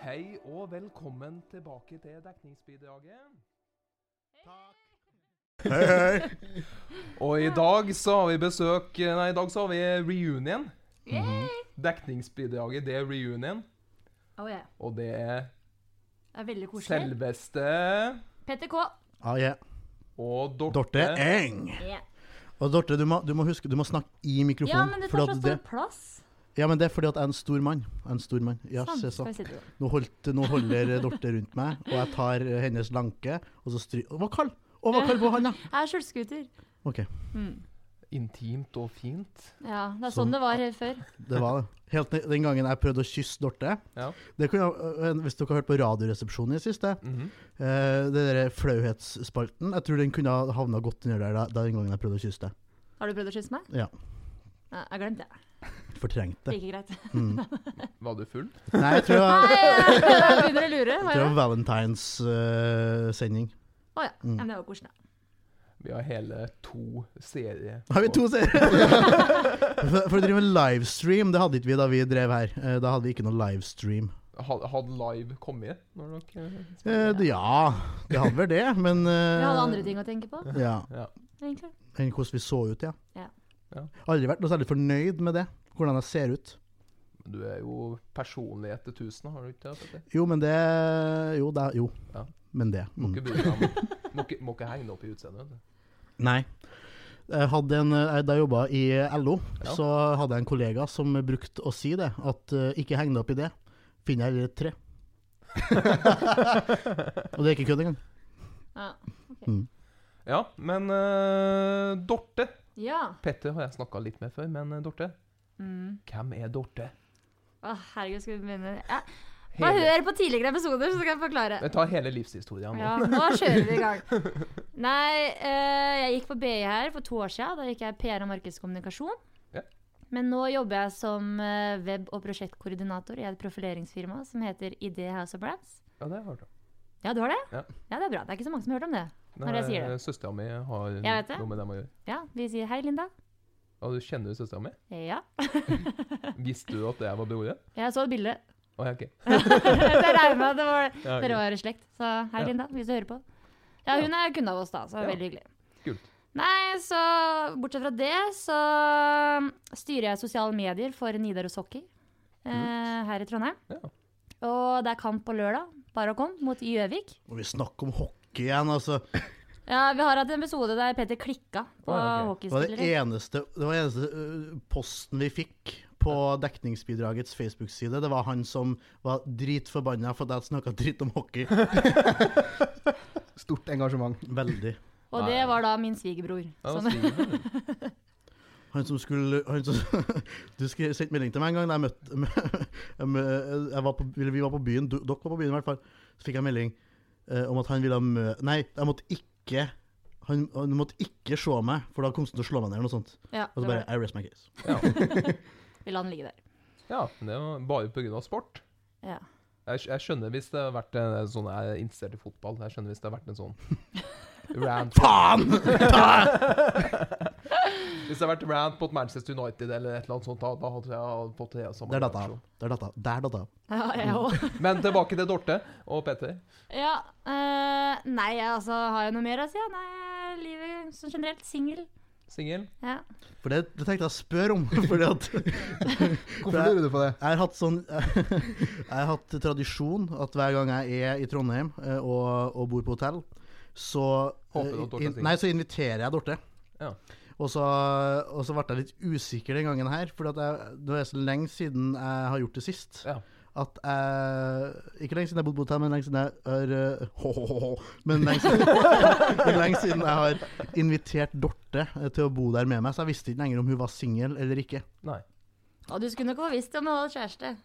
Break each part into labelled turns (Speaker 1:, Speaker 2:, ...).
Speaker 1: Hei og velkommen tilbake til dekningsbidraget.
Speaker 2: Hei, hei.
Speaker 1: Og i dag så har vi besøk Nei, i dag så har vi reunion. Dekningsbidraget, det er reunion.
Speaker 3: Å ja.
Speaker 1: Og det er
Speaker 3: Det er veldig koselig.
Speaker 1: selveste
Speaker 3: Petter K.
Speaker 2: Ah, yeah.
Speaker 1: og Dorte.
Speaker 2: Dorte Eng. Og Dorte, du må, du må huske, du må snakke i mikrofonen.
Speaker 3: Ja, men det
Speaker 2: fordi
Speaker 3: tar så
Speaker 2: at
Speaker 3: stor plass.
Speaker 2: ja, men det er fordi at jeg er en stor mann. Jeg er en stor mann. Ja,
Speaker 3: Sånn,
Speaker 2: se
Speaker 3: skal
Speaker 2: så.
Speaker 3: vi sitte sånn.
Speaker 2: Nå, holdt, nå holder Dorte rundt meg, og jeg tar eh, hennes lanke, og så stry... Å, var kald! Å, var kald på han, ja!
Speaker 3: Jeg er skjølskuter.
Speaker 2: OK,
Speaker 1: Intimt og fint.
Speaker 3: Ja, det er
Speaker 2: Sånn.
Speaker 3: sånn det var her før.
Speaker 2: det var det. Helt ned- den gangen jeg prøvde å kysse Dorte
Speaker 1: Ja.
Speaker 2: det kunne, jeg- eh, Hvis dere har hørt på Radioresepsjonen i det siste,
Speaker 1: Mhm.
Speaker 2: eh, den der flauhetsspalten Jeg tror den kunne ha havna godt under der da, da den gangen jeg prøvde å kysse deg.
Speaker 3: Har du prøvd å kysse meg?
Speaker 2: Ja.
Speaker 3: Nei, jeg glemte det.
Speaker 2: Fortrengte. Mm.
Speaker 3: Like greit.
Speaker 1: Var du full?
Speaker 2: Nei, jeg tror det var-
Speaker 3: Nei, jeg begynner å lure.
Speaker 2: jeg tror
Speaker 3: Hva er
Speaker 2: det
Speaker 3: det?
Speaker 2: var Valentines-sending.
Speaker 3: Å ja. ja. Men det var koselig. da.
Speaker 1: Vi har hele to serier.
Speaker 2: Har vi to seere? for, for å drive med livestream, det hadde ikke vi da vi drev her. Eh, Da hadde vi ikke noe livestream.
Speaker 1: Had- Hadde live kommet når dere
Speaker 2: Eh, det- ja, det hadde vel det, men eh,
Speaker 3: Vi hadde andre ting å tenke på,
Speaker 2: Ja,
Speaker 1: Ja.
Speaker 3: egentlig.
Speaker 2: Enn hvordan vi så ut, ja.
Speaker 3: Ja.
Speaker 1: Ja.
Speaker 2: Aldri vært noe særlig fornøyd med det. Hvordan jeg ser ut.
Speaker 1: Du er jo personlighet til tusen, har du ikke det? Petter?
Speaker 2: Jo, men det Jo, det Jo.
Speaker 1: Ja.
Speaker 2: Men det.
Speaker 1: Må
Speaker 2: Mm.
Speaker 1: ikke bry deg om Må ikke- må ikke henge deg opp i utseendet. vet du.
Speaker 2: Nei. Jeg hadde en, eh, jeg- da jeg jobba i LO,
Speaker 1: Ja.
Speaker 2: så hadde jeg en kollega som brukte å si det. At eh, ikke heng deg opp i det, finn deg heller et tre. Og det er ikke kødd engang.
Speaker 3: Ja.
Speaker 1: Ja, men eh, Dorte
Speaker 3: ja.
Speaker 1: Petter har jeg snakka litt med før, men eh, Dorte
Speaker 3: Mm.
Speaker 1: Hvem er Dorte?
Speaker 3: Å, herregud, skal vi begynne? Ja. Bare
Speaker 1: Hele,
Speaker 3: hør på tidligere episoder, så skal jeg forklare.
Speaker 1: jeg tar hele livshistorien nå.
Speaker 3: Ja, nå kjører vi i gang. Nei, eh, jeg gikk på BI her for to år siden. Da gikk jeg PR og markedskommunikasjon.
Speaker 1: Ja.
Speaker 3: Men nå jobber jeg som eh, web- og prosjektkoordinator i et profileringsfirma som heter ID House of Brands.
Speaker 1: Ja, det har jeg hørt om.
Speaker 3: Ja, du har det?
Speaker 1: Ja.
Speaker 3: det er bra. Det er ikke så mange som har hørt om det. Når jeg sier det.
Speaker 1: Søstera mi Eh, har
Speaker 3: Jeg vet det.
Speaker 1: noe med dem å gjøre.
Speaker 3: Ja, vi sier hei, Linda.
Speaker 1: Og du kjenner jo søstera mi?
Speaker 3: Ja.
Speaker 1: Visste du at jeg var broren?
Speaker 3: Jeg så et bilde.
Speaker 1: Å, ja, ok.
Speaker 3: Så jeg regner med at det var,
Speaker 1: Ja, ok.
Speaker 3: dere var i slekt. Så hei,
Speaker 1: Ja.
Speaker 3: Linda, hvis du hører på. Ja, hun er kunde av oss, da, så
Speaker 1: Ja.
Speaker 3: veldig hyggelig.
Speaker 1: Kult.
Speaker 3: Nei, så bortsett fra det, så styrer jeg sosiale medier for Nidaros Hockey eh, her i Trondheim.
Speaker 1: Ja.
Speaker 3: Og det er kamp på lørdag. Bare kom mot Gjøvik.
Speaker 2: Og vi snakker om hockey igjen, altså.
Speaker 3: Ja, Vi har hatt en episode der Petter klikka på
Speaker 1: Ah, ok.
Speaker 2: Det var det
Speaker 3: hockeyspillere.
Speaker 2: eneste, det var den eneste øh, posten vi fikk på dekningsbidragets Facebook-side. Det var han som var dritforbanna for at jeg snakka dritt om hockey.
Speaker 4: Stort engasjement.
Speaker 2: Veldig.
Speaker 3: Og det var da min svigerbror. Sånn.
Speaker 1: Ja,
Speaker 3: som-
Speaker 1: da sier du det.
Speaker 2: Han som skulle han som, Du skrev- sendte melding til meg en gang da jeg møtte jeg mø- jeg var på, eller Vi var på byen, du- dere var på byen i hvert fall. Så fikk jeg melding eh, om at han ville mø... Nei, jeg måtte ikke han, han måtte ikke se meg, for da kom han til å slå meg ned eller noe sånt.
Speaker 3: ja,
Speaker 2: Og så
Speaker 3: det var
Speaker 2: bare
Speaker 3: det.
Speaker 2: I rest my case.
Speaker 3: Vi la den ligge der.
Speaker 1: ja, men det var bare pga. sport.
Speaker 3: Ja.
Speaker 1: Jeg, skj- jeg skjønner hvis det har vært en sånn Jeg er interessert i fotball. Jeg skjønner hvis det har vært en sånn rant
Speaker 2: Faen!
Speaker 1: Hvis det har vært rant mot Manchester United eller et eller annet sånt, da, da hadde jeg fått det samme.
Speaker 2: Der datt jeg
Speaker 1: reaksjon.
Speaker 2: av. Der datt jeg av. Der datt jeg av.
Speaker 3: Ja, jeg også.
Speaker 1: Men tilbake til Dorte og Petter.
Speaker 3: Ja, eh, nei, altså, har jeg noe mer å si? Nei, livet som generelt singel.
Speaker 1: Singel.
Speaker 3: Ja.
Speaker 2: For det, det tenkte jeg å spørre om. Fordi at
Speaker 4: Hvorfor lurer du på det?
Speaker 2: Jeg har hatt sånn Jeg har hatt tradisjon at hver gang jeg er i Trondheim eh, og, og bor på hotell, så
Speaker 1: Håper du at
Speaker 2: eh,
Speaker 1: Dorte
Speaker 2: in-
Speaker 1: sier.
Speaker 2: Nei, så inviterer jeg Dorte.
Speaker 1: Ja.
Speaker 2: Og så, og så ble jeg litt usikker den gangen her, for det er så lenge siden jeg har gjort det sist.
Speaker 1: Ja.
Speaker 2: At jeg Ikke lenge siden jeg bodde på hotell, men lenge siden jeg har eh, ho, ho, ho, ho, Men lenge siden, men lenge siden jeg har invitert Dorte eh, til å bo der med meg, så jeg visste ikke lenger om hun var singel eller ikke.
Speaker 1: Nei.
Speaker 3: Og du skulle nok ha visst om jeg hadde kjæreste.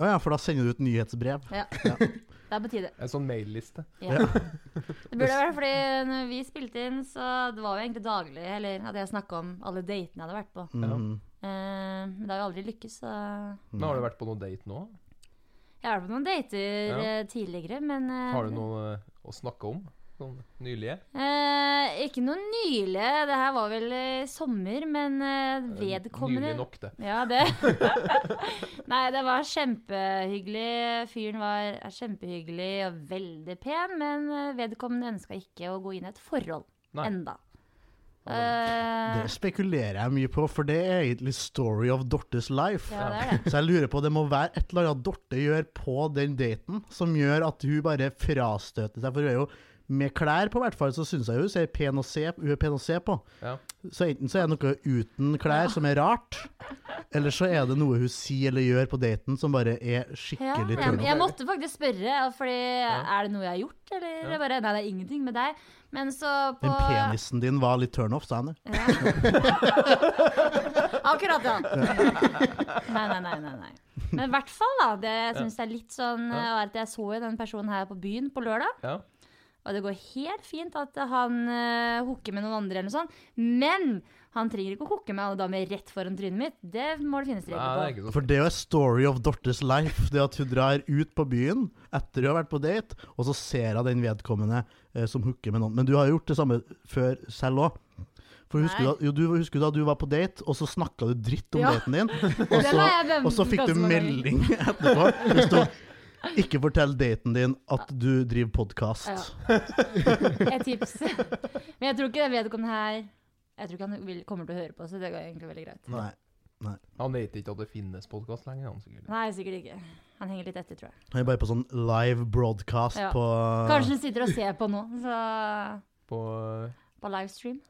Speaker 2: Å ja, for da sender du ut nyhetsbrev.
Speaker 3: Ja. Det er på tide.
Speaker 1: En sånn mailliste.
Speaker 3: Ja. Det burde vært fordi når vi spilte inn, så det var jo egentlig daglig Eller hadde jeg snakka om alle datene jeg hadde vært på.
Speaker 2: Mhm.
Speaker 3: Eh, men det har jo aldri lykkes, så Jeg
Speaker 1: Men har
Speaker 4: Mm.
Speaker 1: du vært på noen date nå?
Speaker 3: har vært på noen dater
Speaker 1: Ja.
Speaker 3: eh, tidligere, men eh,
Speaker 1: Har du noe eh, å snakke om? Sånn nylige.
Speaker 3: Eh, ikke noe nylig. Det her var vel i sommer, men eh, vedkommende
Speaker 1: Nylig nok, det.
Speaker 3: Ja, det. Nei, det var kjempehyggelig. Fyren var er kjempehyggelig og veldig pen, men eh, vedkommende ønska ikke å gå inn i et forhold
Speaker 1: Nei.
Speaker 3: enda.
Speaker 2: Det
Speaker 3: Eh,
Speaker 2: spekulerer jeg mye på, for det er egentlig story of Dortes life.
Speaker 3: ja, det er det.
Speaker 2: Så jeg lurer på, det må være et eller annet Dorte gjør på den daten, som gjør at hun bare frastøter seg. For hun er jo med klær på, hvert fall, så syns jeg hun ser pen å se, hun er pen å se på.
Speaker 1: Ja.
Speaker 2: Så enten så er det noe uten klær som er rart, eller så er det noe hun sier eller gjør på daten som bare er
Speaker 3: Ja,
Speaker 2: skikkelig
Speaker 3: jeg,
Speaker 2: turn off.
Speaker 3: jeg måtte faktisk spørre, fordi er det noe jeg har gjort, eller
Speaker 1: Ja.
Speaker 3: bare Nei, det er ingenting med deg. Men så på
Speaker 2: Den penisen din var litt turn off, sa han.
Speaker 3: Ja. Akkurat, ja. Nei, nei, nei. nei, nei. Men i hvert fall, da. Det jeg synes det er litt sånn
Speaker 1: Ja.
Speaker 3: eh, var at Jeg så jo den personen her på byen på lørdag,
Speaker 1: Ja.
Speaker 3: og det går helt fint at han uh, hooker med noen andre, eller noe sånt. Men han trenger ikke å hooke med alle damer rett foran trynet mitt. Det må det finnes
Speaker 1: Nei, det er
Speaker 3: regler på.
Speaker 1: ikke sånn.
Speaker 2: For det er jo story of Dortes life. Det at hun drar ut på byen etter hun har vært på date, og så ser hun den vedkommende eh, som hooker med noen. Men du har jo gjort det samme før selv òg. For husker du,
Speaker 3: Nei.
Speaker 2: da- jo, du husker du da du var på date, og så snakka du dritt om
Speaker 3: Ja.
Speaker 2: daten din? Og
Speaker 3: Den
Speaker 2: så,
Speaker 3: har jeg vevnet
Speaker 2: og så fikk
Speaker 3: ganske
Speaker 2: du
Speaker 3: mange ganger.
Speaker 2: melding etterpå. Det stod 'Ikke fortell daten din at du driver podkast'.
Speaker 3: Et tips. Men jeg tror ikke vedkommende her Jeg tror ikke han vil, kommer til å høre på, så det går egentlig veldig greit.
Speaker 2: Nei.
Speaker 1: Han vet ikke at det finnes podkast lenger, han sikkert.
Speaker 3: Nei, sikkert ikke. Han henger litt etter, tror jeg.
Speaker 2: Han er bare på sånn live broadcast
Speaker 3: Ja.
Speaker 2: på
Speaker 3: Kanskje hun sitter og ser på nå, så
Speaker 1: På eh,
Speaker 3: på livestream.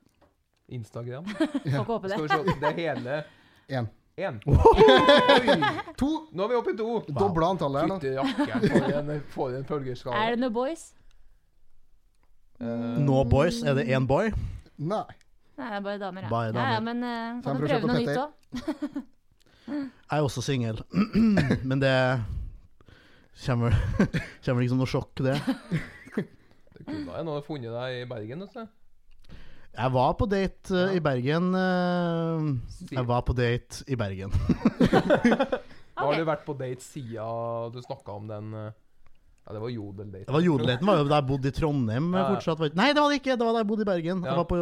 Speaker 1: Instagram.
Speaker 3: Får ikke håpe det.
Speaker 1: Skal vi se, det er hele
Speaker 4: Én.
Speaker 1: én.
Speaker 4: To.
Speaker 1: Nå er vi oppe i to.
Speaker 4: Dobla antallet her nå.
Speaker 1: Fytti jakkeren, får en, for en følgerskade.
Speaker 3: Er det noe boys?
Speaker 1: Eh,
Speaker 2: No Boys. Er det én boy?
Speaker 4: Nei.
Speaker 3: Nei, det er bare damer. Ja.
Speaker 2: Bare
Speaker 3: Ja, ja,
Speaker 2: damer.
Speaker 3: men eh,
Speaker 4: Så
Speaker 3: kan
Speaker 4: han
Speaker 3: du
Speaker 4: prøver
Speaker 3: prøve noe
Speaker 4: på
Speaker 3: nytt
Speaker 4: Petter.
Speaker 3: òg?
Speaker 2: Jeg er også singel, men det kommer, kommer liksom noe sjokk, det.
Speaker 1: Det kunne jeg nå ha funnet deg i Bergen, vet du.
Speaker 2: Jeg var på date eh, i Bergen. eh, jeg var på date i Bergen.
Speaker 1: Har du vært på date siden du snakka om den eh, Ja, det var
Speaker 2: Det
Speaker 1: Jodel-date.
Speaker 2: var Jodelaten var jo da jeg bodde i Trondheim eh,
Speaker 1: Ja, ja.
Speaker 2: fortsatt. var det ikke- Nei, det var det ikke! Det var da jeg bodde i Bergen.
Speaker 1: Ja.
Speaker 2: Jeg var på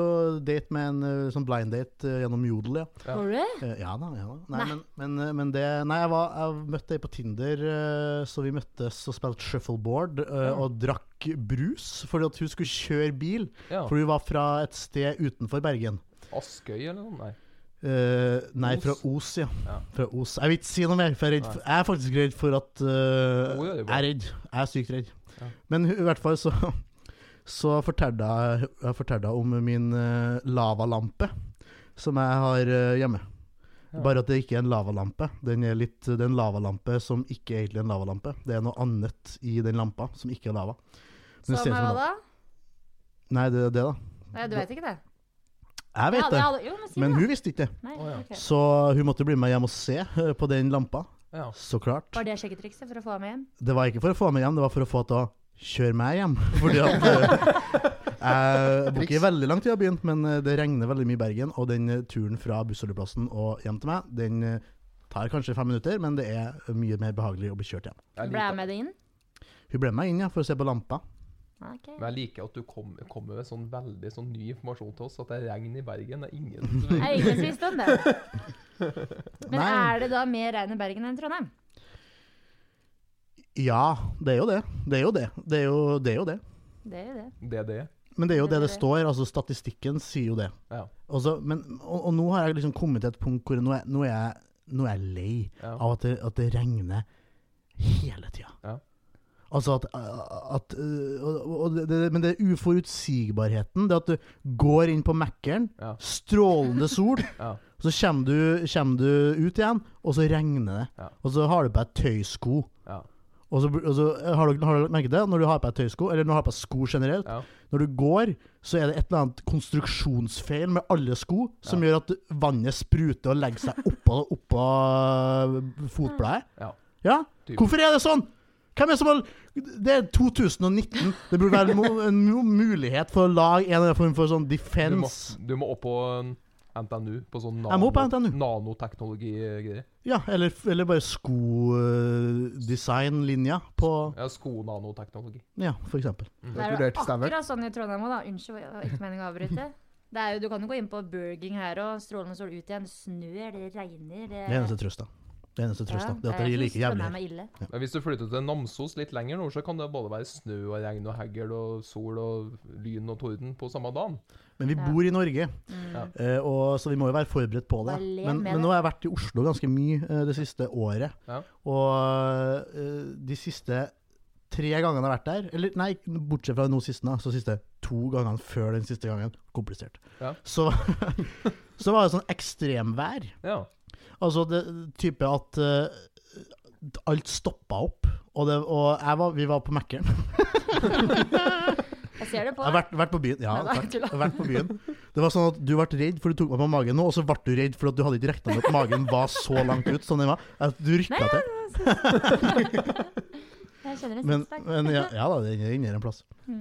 Speaker 2: date med en eh, sånn blind date eh, gjennom Jodel, ja.
Speaker 1: Ja.
Speaker 3: Tror du?
Speaker 2: Eh, ja da. ja da. Nei,
Speaker 3: Nei.
Speaker 2: Men, men, eh, men det Nei, jeg, var, jeg møtte ei på Tinder, eh, så vi møttes og spilte shuffleboard eh, og drakk brus fordi at hun skulle kjøre bil.
Speaker 1: Ja.
Speaker 2: For hun var fra et sted utenfor Bergen.
Speaker 1: Askøy eller noe? Nei.
Speaker 2: Eh, nei,
Speaker 1: Os?
Speaker 2: fra Os, ja.
Speaker 1: Ja.
Speaker 2: Fra Os. Jeg vil ikke si noe mer, for jeg er, redd for, jeg er faktisk redd for at eh,
Speaker 1: Hun gjør det
Speaker 2: Jeg
Speaker 1: bra.
Speaker 2: er redd. Jeg er sykt redd.
Speaker 1: Ja.
Speaker 2: Men hu- i hvert fall så Så fortalte jeg, jeg fortalte om min eh, lavalampe som jeg har eh, hjemme.
Speaker 1: Ja.
Speaker 2: Bare at det ikke er en lavalampe. Den er litt, det er en lavalampe som ikke er egentlig er en lavalampe. Det er noe annet i den lampa som ikke er lava. Men det ser ut
Speaker 3: Som er
Speaker 2: som
Speaker 3: hva
Speaker 2: lava.
Speaker 3: da?
Speaker 2: Nei, det er det, da.
Speaker 3: Nei, du vet ikke det?
Speaker 2: Jeg
Speaker 3: Ja,
Speaker 2: vet
Speaker 3: det
Speaker 2: det,
Speaker 3: hadde- Jo, men si det.
Speaker 2: men
Speaker 3: da.
Speaker 2: hun visste ikke det.
Speaker 3: Nei,
Speaker 1: Å, ja.
Speaker 3: ok.
Speaker 2: Så hun måtte bli med hjem og se eh, på den lampa.
Speaker 1: Ja.
Speaker 2: Så klart.
Speaker 3: Var det sjekketrikset for å få ham hjem?
Speaker 2: Det var ikke for å få meg hjem, det var for å få henne til å kjøre meg hjem. Fordi at eh, Jeg bor ikke veldig langt i byen, men eh, det regner veldig mye i Bergen. Og den eh, turen fra bussholdeplassen og hjem til meg, den eh, tar kanskje fem minutter, men det er mye mer behagelig å bli kjørt hjem.
Speaker 1: Jeg
Speaker 3: Ble jeg
Speaker 1: liker,
Speaker 3: med deg inn?
Speaker 2: Hun ble med inn ja, for å se på lampa.
Speaker 3: Ah, ok.
Speaker 1: men jeg liker at du kom- kommer med sånn veldig sånn ny informasjon til oss. At det er regn i Bergen. Det er ingen som vet.
Speaker 3: Jeg har ingen som visste om det. Men
Speaker 2: Nei.
Speaker 3: er det da mer regn i Bergen enn i Trondheim?
Speaker 2: Ja, det er jo det. Det er jo det. Det er jo det. Er jo det.
Speaker 3: Det er jo det.
Speaker 1: Det er det.
Speaker 2: Men det er jo
Speaker 3: Det
Speaker 2: det
Speaker 3: er
Speaker 2: det
Speaker 3: det.
Speaker 2: står. altså Statistikken sier jo det.
Speaker 1: Ja.
Speaker 2: Og, så, men, og, og nå har jeg liksom kommet til et punkt hvor nå er, nå er, jeg, nå er jeg lei
Speaker 1: Ja.
Speaker 2: av at det, at det regner hele tida.
Speaker 1: Ja.
Speaker 2: Altså at, at øh, og, og det, det- Men det er uforutsigbarheten. Det at du går inn på Mækkern,
Speaker 1: Ja.
Speaker 2: strålende sol,
Speaker 1: Ja.
Speaker 2: så kommer du, kommer du ut igjen, og så regner det.
Speaker 1: Ja.
Speaker 2: Og så har du på deg tøysko.
Speaker 1: Ja.
Speaker 2: Og så, og så har, du, har du lagt merke til det? Når du har på deg tøysko, eller når du har på deg sko generelt,
Speaker 1: Ja.
Speaker 2: når du går, så er det et eller annet konstruksjonsfeil med alle sko som gjør at vannet spruter og legger seg oppå, oppå eh, fotbladet.
Speaker 1: Ja.
Speaker 2: Ja?
Speaker 1: Typisk.
Speaker 2: Hvorfor er det sånn? Hvem er det som har Det er 2019. Det burde være mo- en mo- mulighet for å lage en eller annen form for sånn
Speaker 1: Du må,
Speaker 2: defense.
Speaker 1: du må opp på en- NTNU på sånn
Speaker 2: Jeg må på NTNU.
Speaker 1: nanoteknologi-greier.
Speaker 2: Ja, eller, eller bare skodesignlinja på
Speaker 1: Ja, Sko-nanoteknologi.
Speaker 2: Ja, for eksempel.
Speaker 4: Det er vurdert stavel.
Speaker 3: akkurat sånn i Trondheim òg, da. Unnskyld, jeg var ikke meningen å avbryte. Det er jo, du kan jo gå inn på Burging her og strålende sol ut igjen. Det snør, det regner det...
Speaker 2: Det eneste trøsta. Det eneste trøsta. Det at det er like jævlig. her.
Speaker 3: meg ille.
Speaker 1: Men hvis du flytter til Namsos litt lenger nord, så kan det både være snø og regn og hagl og sol og lyn og torden på samme dagen.
Speaker 2: Men vi
Speaker 3: Ja.
Speaker 2: bor i Norge,
Speaker 3: Mm.
Speaker 1: Ja.
Speaker 2: eh, og, så vi må jo være forberedt på det.
Speaker 3: Bare lev
Speaker 2: Men,
Speaker 3: med
Speaker 2: men
Speaker 3: det.
Speaker 2: nå har jeg vært i Oslo ganske mye eh, det siste året.
Speaker 1: Ja.
Speaker 2: Og eh, de siste tre gangene jeg har vært der, eller nei, bortsett fra nå siste, da, så siste to gangene før den siste gangen, komplisert.
Speaker 1: Ja.
Speaker 2: Så, så var det sånn ekstremvær.
Speaker 1: Ja.
Speaker 2: Altså det type at eh, alt stoppa opp. Og, det, og jeg var, vi var på Mækkern. Jeg
Speaker 3: Jeg ser det på
Speaker 2: har
Speaker 3: deg.
Speaker 2: vært, vært på byen. Ja,
Speaker 3: Nei, nei,
Speaker 2: takk.
Speaker 3: tulla.
Speaker 2: Jeg har vært på byen. Det var sånn at Du ble redd fordi du tok meg på magen nå, og så ble du redd fordi at du hadde ikke regna med at magen var så langt ut som den var. At du
Speaker 3: Nei,
Speaker 2: rykka
Speaker 3: ja,
Speaker 2: til.
Speaker 3: Jeg kjenner en
Speaker 2: Men,
Speaker 3: sixpack.
Speaker 2: men ja, ja da, den er inni en plass.
Speaker 3: Mm.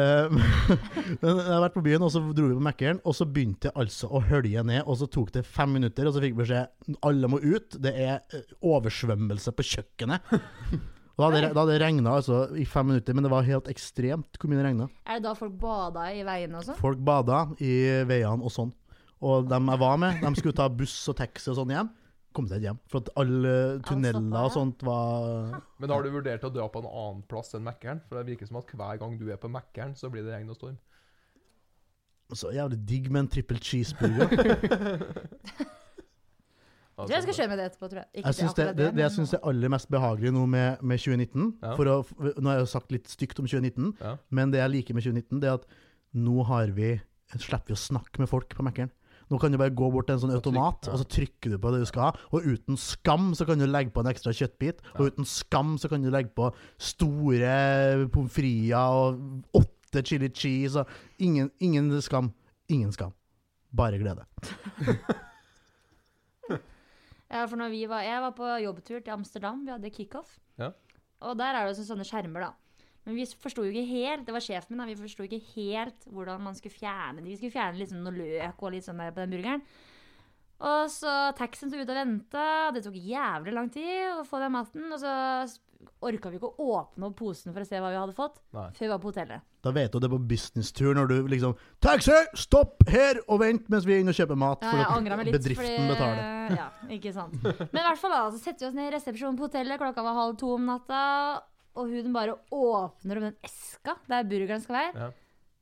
Speaker 2: Eh, men jeg har vært på byen, og så dro vi på Mækkern, og så begynte det altså å hølje ned. Og så tok det fem minutter, og så fikk vi beskjed alle må ut. Det er eh, oversvømmelse på kjøkkenet. Og da hadde, det- da hadde det regna altså, i fem minutter, men det var helt ekstremt hvor mye det regna.
Speaker 3: Er det da folk bada i veiene og sånn?
Speaker 2: Folk bada i veiene og sånn. Og dem jeg var med, de skulle ta buss og taxi og sånn hjem. Kom seg ikke hjem, for at alle tunneler og sånt var
Speaker 1: Men har du vurdert å dra på en annen plass enn Mækkern? For det virker som at hver gang du er på Mækkern, så blir det regn og storm.
Speaker 2: så jævlig digg med en trippel cheeseburger.
Speaker 3: Jeg tror jeg
Speaker 1: altså-
Speaker 3: skal kjøre med det etterpå, tror jeg. Ikke
Speaker 2: Jeg synes det,
Speaker 3: akkurat
Speaker 2: det, det jeg
Speaker 3: men-
Speaker 2: syns er aller mest behagelig nå med, med 2019
Speaker 1: Ja.
Speaker 2: for å, Nå har jeg jo sagt litt stygt om 2019,
Speaker 1: Ja.
Speaker 2: men det jeg liker med 2019, det er at nå har vi, slipper vi å snakke med folk på Mækkern. Nå kan du bare gå bort til en sånn
Speaker 1: Og trykke,
Speaker 2: automat,
Speaker 1: ja.
Speaker 2: og så trykker du på det du skal ha. Og uten skam så kan du legge på en ekstra kjøttbit,
Speaker 1: Ja.
Speaker 2: og uten skam så kan du legge på store pommes frites og åtte chili cheese. Og ingen, ingen skam. Ingen skam. Bare glede.
Speaker 3: Ja, for når vi var, jeg var på jobbtur til Amsterdam, vi hadde kickoff.
Speaker 1: Ja.
Speaker 3: Og der er det også sånne skjermer, da. Men vi forsto jo ikke helt, det var sjefen min, da, vi forsto ikke helt hvordan man skulle fjerne de. Vi skulle fjerne litt sånn noe løk og litt sånn der på den burgeren. Og så taxien sto ute og venta, det tok jævlig lang tid å få den maten. Og så orka vi ikke å åpne opp posen for å se hva vi hadde fått,
Speaker 1: Nei.
Speaker 3: før vi var på hotellet.
Speaker 2: Da vet du det er på businesstur når du liksom Taxi! Stopp her og vent mens vi er inne og kjøper mat.
Speaker 3: Ja, jeg
Speaker 2: at
Speaker 3: angra meg litt.
Speaker 2: Bedriften
Speaker 3: fordi,
Speaker 2: betaler.
Speaker 3: Ja, ikke sant. Men i hvert fall da, så setter vi oss ned i resepsjonen på hotellet, klokka var halv to om natta, og hun bare åpner opp den eska der burgeren skal være.
Speaker 1: Ja.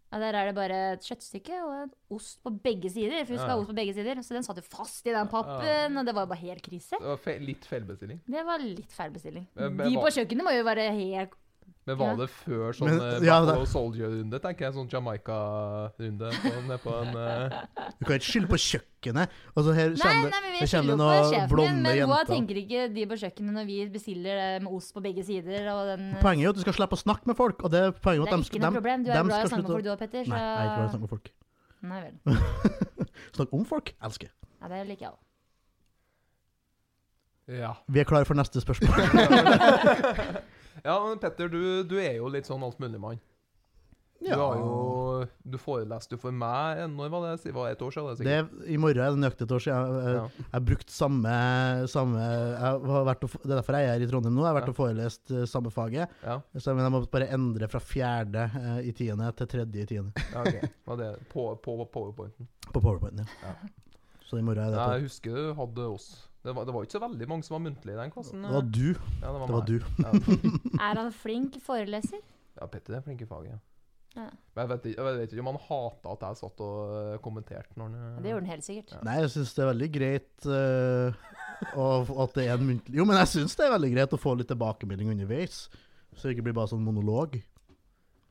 Speaker 3: Ja, der er det bare et kjøttstykke og en ost på begge sider. For hun skal
Speaker 1: Ja.
Speaker 3: ha ost på begge sider, så den satt jo fast i den pappen, og det var jo bare helt krise.
Speaker 1: Det var fe litt feilbestilling.
Speaker 3: Det var litt feil bestilling.
Speaker 1: Men- men
Speaker 3: De
Speaker 1: hva-
Speaker 3: på kjøkkenet må jo være helt
Speaker 1: Men var
Speaker 3: Ja.
Speaker 1: det før sånn
Speaker 2: Men-
Speaker 1: eh,
Speaker 2: ja,
Speaker 1: Battle
Speaker 2: det-
Speaker 1: of Soldier-runde? Tenker jeg sånn Jamaica-runde på, ned på en eh,
Speaker 2: Du kan ikke skylde på kjøkkenet. Altså, her
Speaker 3: Nei,
Speaker 2: kommer,
Speaker 3: nei, men vi
Speaker 2: her kommer det
Speaker 3: skylder jo på
Speaker 2: noen
Speaker 3: sjefen min,
Speaker 2: blonde
Speaker 3: men hva
Speaker 2: jenter.
Speaker 3: tenker ikke de på kjøkkenet når vi bestiller det med ost på begge sider? Og den,
Speaker 2: Poenget er jo at du skal slippe å snakke med folk. Og det er poenget
Speaker 3: det
Speaker 2: at de
Speaker 3: er ikke
Speaker 2: skal,
Speaker 3: noe
Speaker 2: dem,
Speaker 3: problem. Du er
Speaker 2: dem
Speaker 3: glad i
Speaker 2: skal
Speaker 3: å snakke med
Speaker 2: slutte å
Speaker 3: folk du òg, Petter. Så...
Speaker 2: Nei, jeg er ikke glad i å snakke med folk.
Speaker 3: Nei vel.
Speaker 2: Snakk om folk. Jeg Elsker.
Speaker 3: Ja, det liker jeg òg.
Speaker 1: Ja.
Speaker 2: Vi er klare for neste spørsmål.
Speaker 1: ja, men Petter, du, du er jo litt sånn altmuligmann. Du
Speaker 2: Ja.
Speaker 1: har jo Du foreleste jo for meg eh, Når var det? Si- Var det et år siden? Det,
Speaker 2: Det,
Speaker 1: sikkert?
Speaker 2: I morgen er det nøyaktig et år siden jeg, jeg,
Speaker 1: Ja.
Speaker 2: jeg har brukt samme, samme jeg har vært og, f- Det er derfor jeg er i Trondheim nå. Jeg har vært
Speaker 1: Ja.
Speaker 2: og forelest eh, samme faget.
Speaker 1: Ja,
Speaker 2: Så, men jeg må bare endre fra fjerde eh, i tiende til tredje i tiende.
Speaker 1: ja, ok. Var det på, på powerpointen.
Speaker 2: På powerpointen, ja.
Speaker 1: Ja.
Speaker 2: Så i morgen er
Speaker 1: Nei,
Speaker 2: det på.
Speaker 1: jeg husker du hadde oss. Det var, det var ikke så veldig mange som var muntlige i den klassen. eh.
Speaker 2: Det var du.
Speaker 1: Ja, det var,
Speaker 2: Det var
Speaker 1: meg.
Speaker 2: du.
Speaker 1: Ja.
Speaker 3: Er han flink foreleser?
Speaker 1: ja, Petter er flink i faget. Ja.
Speaker 3: Ja.
Speaker 1: Men jeg vet, ikke, jeg vet ikke om han hata at jeg satt og eh, kommenterte når han eh,
Speaker 3: Det gjorde han helt sikkert.
Speaker 1: Ja.
Speaker 2: Nei, jeg syns det er veldig greit eh, å få- at det er en muntlig Jo, men jeg syns det er veldig greit å få litt tilbakemelding underveis. Så det ikke blir bare sånn monolog.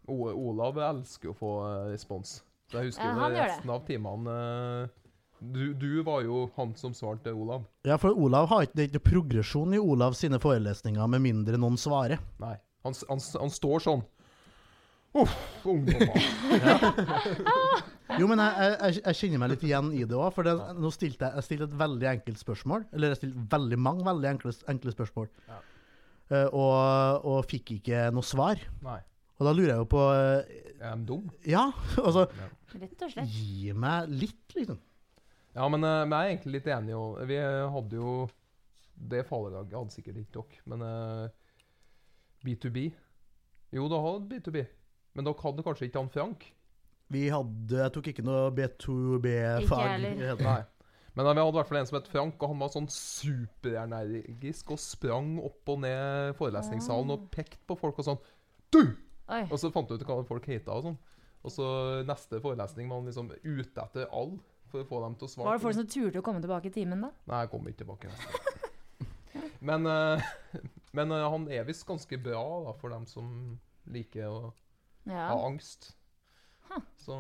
Speaker 1: O Olav elsker jo å få eh, respons. Så jeg husker
Speaker 3: Ja,
Speaker 1: jo
Speaker 3: han
Speaker 1: det
Speaker 3: gjør det.
Speaker 1: resten av timene eh, du, du var jo han som svarte Olav.
Speaker 2: Ja, for Olav har ikke, det er ikke noe progresjon i Olav sine forelesninger, med mindre noen svarer.
Speaker 1: Nei. Han, s- han, s- han står sånn. Uff, ungdommer.
Speaker 2: Jo, men jeg, jeg, jeg- jeg kjenner meg litt igjen i det òg. For det, nå stilte jeg, jeg stilte et veldig enkelt spørsmål. Eller jeg stilte veldig mange veldig enkle, enkle spørsmål. Eh, og, og fikk ikke noe svar.
Speaker 1: Nei.
Speaker 2: Og da lurer jeg jo på eh,
Speaker 1: Er de dum?
Speaker 2: Ja, altså
Speaker 3: Rett og slett.
Speaker 2: Gi meg litt, liksom.
Speaker 1: Ja, men eh, vi er egentlig litt enige òg. Vi eh, hadde jo Det faderlaget hadde sikkert ikke dere, men eh, B2B Jo, da hadde B2B, men dere hadde kanskje ikke han Frank?
Speaker 2: Vi hadde Jeg tok ikke noe
Speaker 3: Ikke
Speaker 2: B2B-fag.
Speaker 3: heller.
Speaker 1: Nei. Men eh, vi hadde i hvert fall en som het Frank, og han var sånn superenergisk og sprang opp og ned forelesningssalen
Speaker 3: Ah.
Speaker 1: og pekte på folk og sånn Du!
Speaker 3: Oi.
Speaker 1: Og så fant du ut hva folk heta og sånn. Og så neste forelesning var han liksom ute etter alle for å få dem til å svare.
Speaker 3: Var det
Speaker 1: på
Speaker 3: folk som turte å komme tilbake i timen, da?
Speaker 1: Nei, jeg kommer ikke tilbake neste gang. Men, eh, men eh, han er visst ganske bra da, for dem som liker å
Speaker 3: Ja.
Speaker 1: ha angst. Så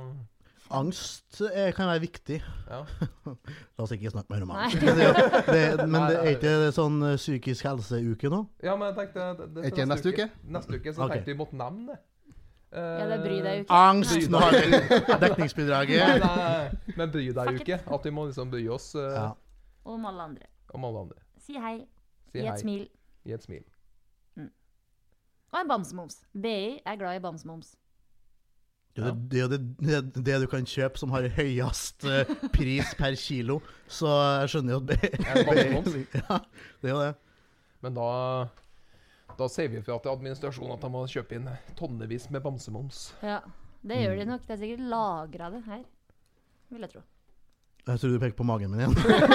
Speaker 2: Angst eh, kan være viktig.
Speaker 1: ja.
Speaker 2: La oss ikke snakke mer om
Speaker 3: Nei.
Speaker 2: angst. Men det, det, men
Speaker 1: Nei,
Speaker 2: det
Speaker 1: nei.
Speaker 2: er ikke sånn eh, psykisk helseuke nå?
Speaker 1: ja, men jeg tenkte det- det-
Speaker 4: Er ikke neste uke?
Speaker 1: Neste uke så
Speaker 2: Ok.
Speaker 1: tenkte vi måtte nevne det.
Speaker 3: ja, det bryr deg jo
Speaker 1: eh,
Speaker 3: ikke.
Speaker 2: Angst! Nå har vi
Speaker 1: Nei,
Speaker 2: dekningsbidraget.
Speaker 1: nei, men bry deg jo
Speaker 3: Fuck it.
Speaker 1: ikke. At vi må liksom bry oss eh,
Speaker 2: Ja.
Speaker 3: Og om alle andre.
Speaker 1: om alle andre.
Speaker 3: Si hei.
Speaker 1: Si
Speaker 3: Gi et
Speaker 1: hei.
Speaker 3: smil.
Speaker 1: Gi et smil.
Speaker 3: Og en bamsemums. BI er glad i bamsemums.
Speaker 2: Det er det, det, det, det du kan kjøpe som har høyest eh, pris per kilo. Så jeg skjønner jo at det,
Speaker 1: En bamsemums?
Speaker 2: ja, det er jo det.
Speaker 1: Men da da sier vi fra til administrasjonen at de må kjøpe inn tonnevis med bamsemums.
Speaker 3: Ja, det gjør
Speaker 1: Mm.
Speaker 3: de nok. Det er sikkert lagra det her. Vil jeg tro.
Speaker 2: Jeg tror du pekte på magen min igjen.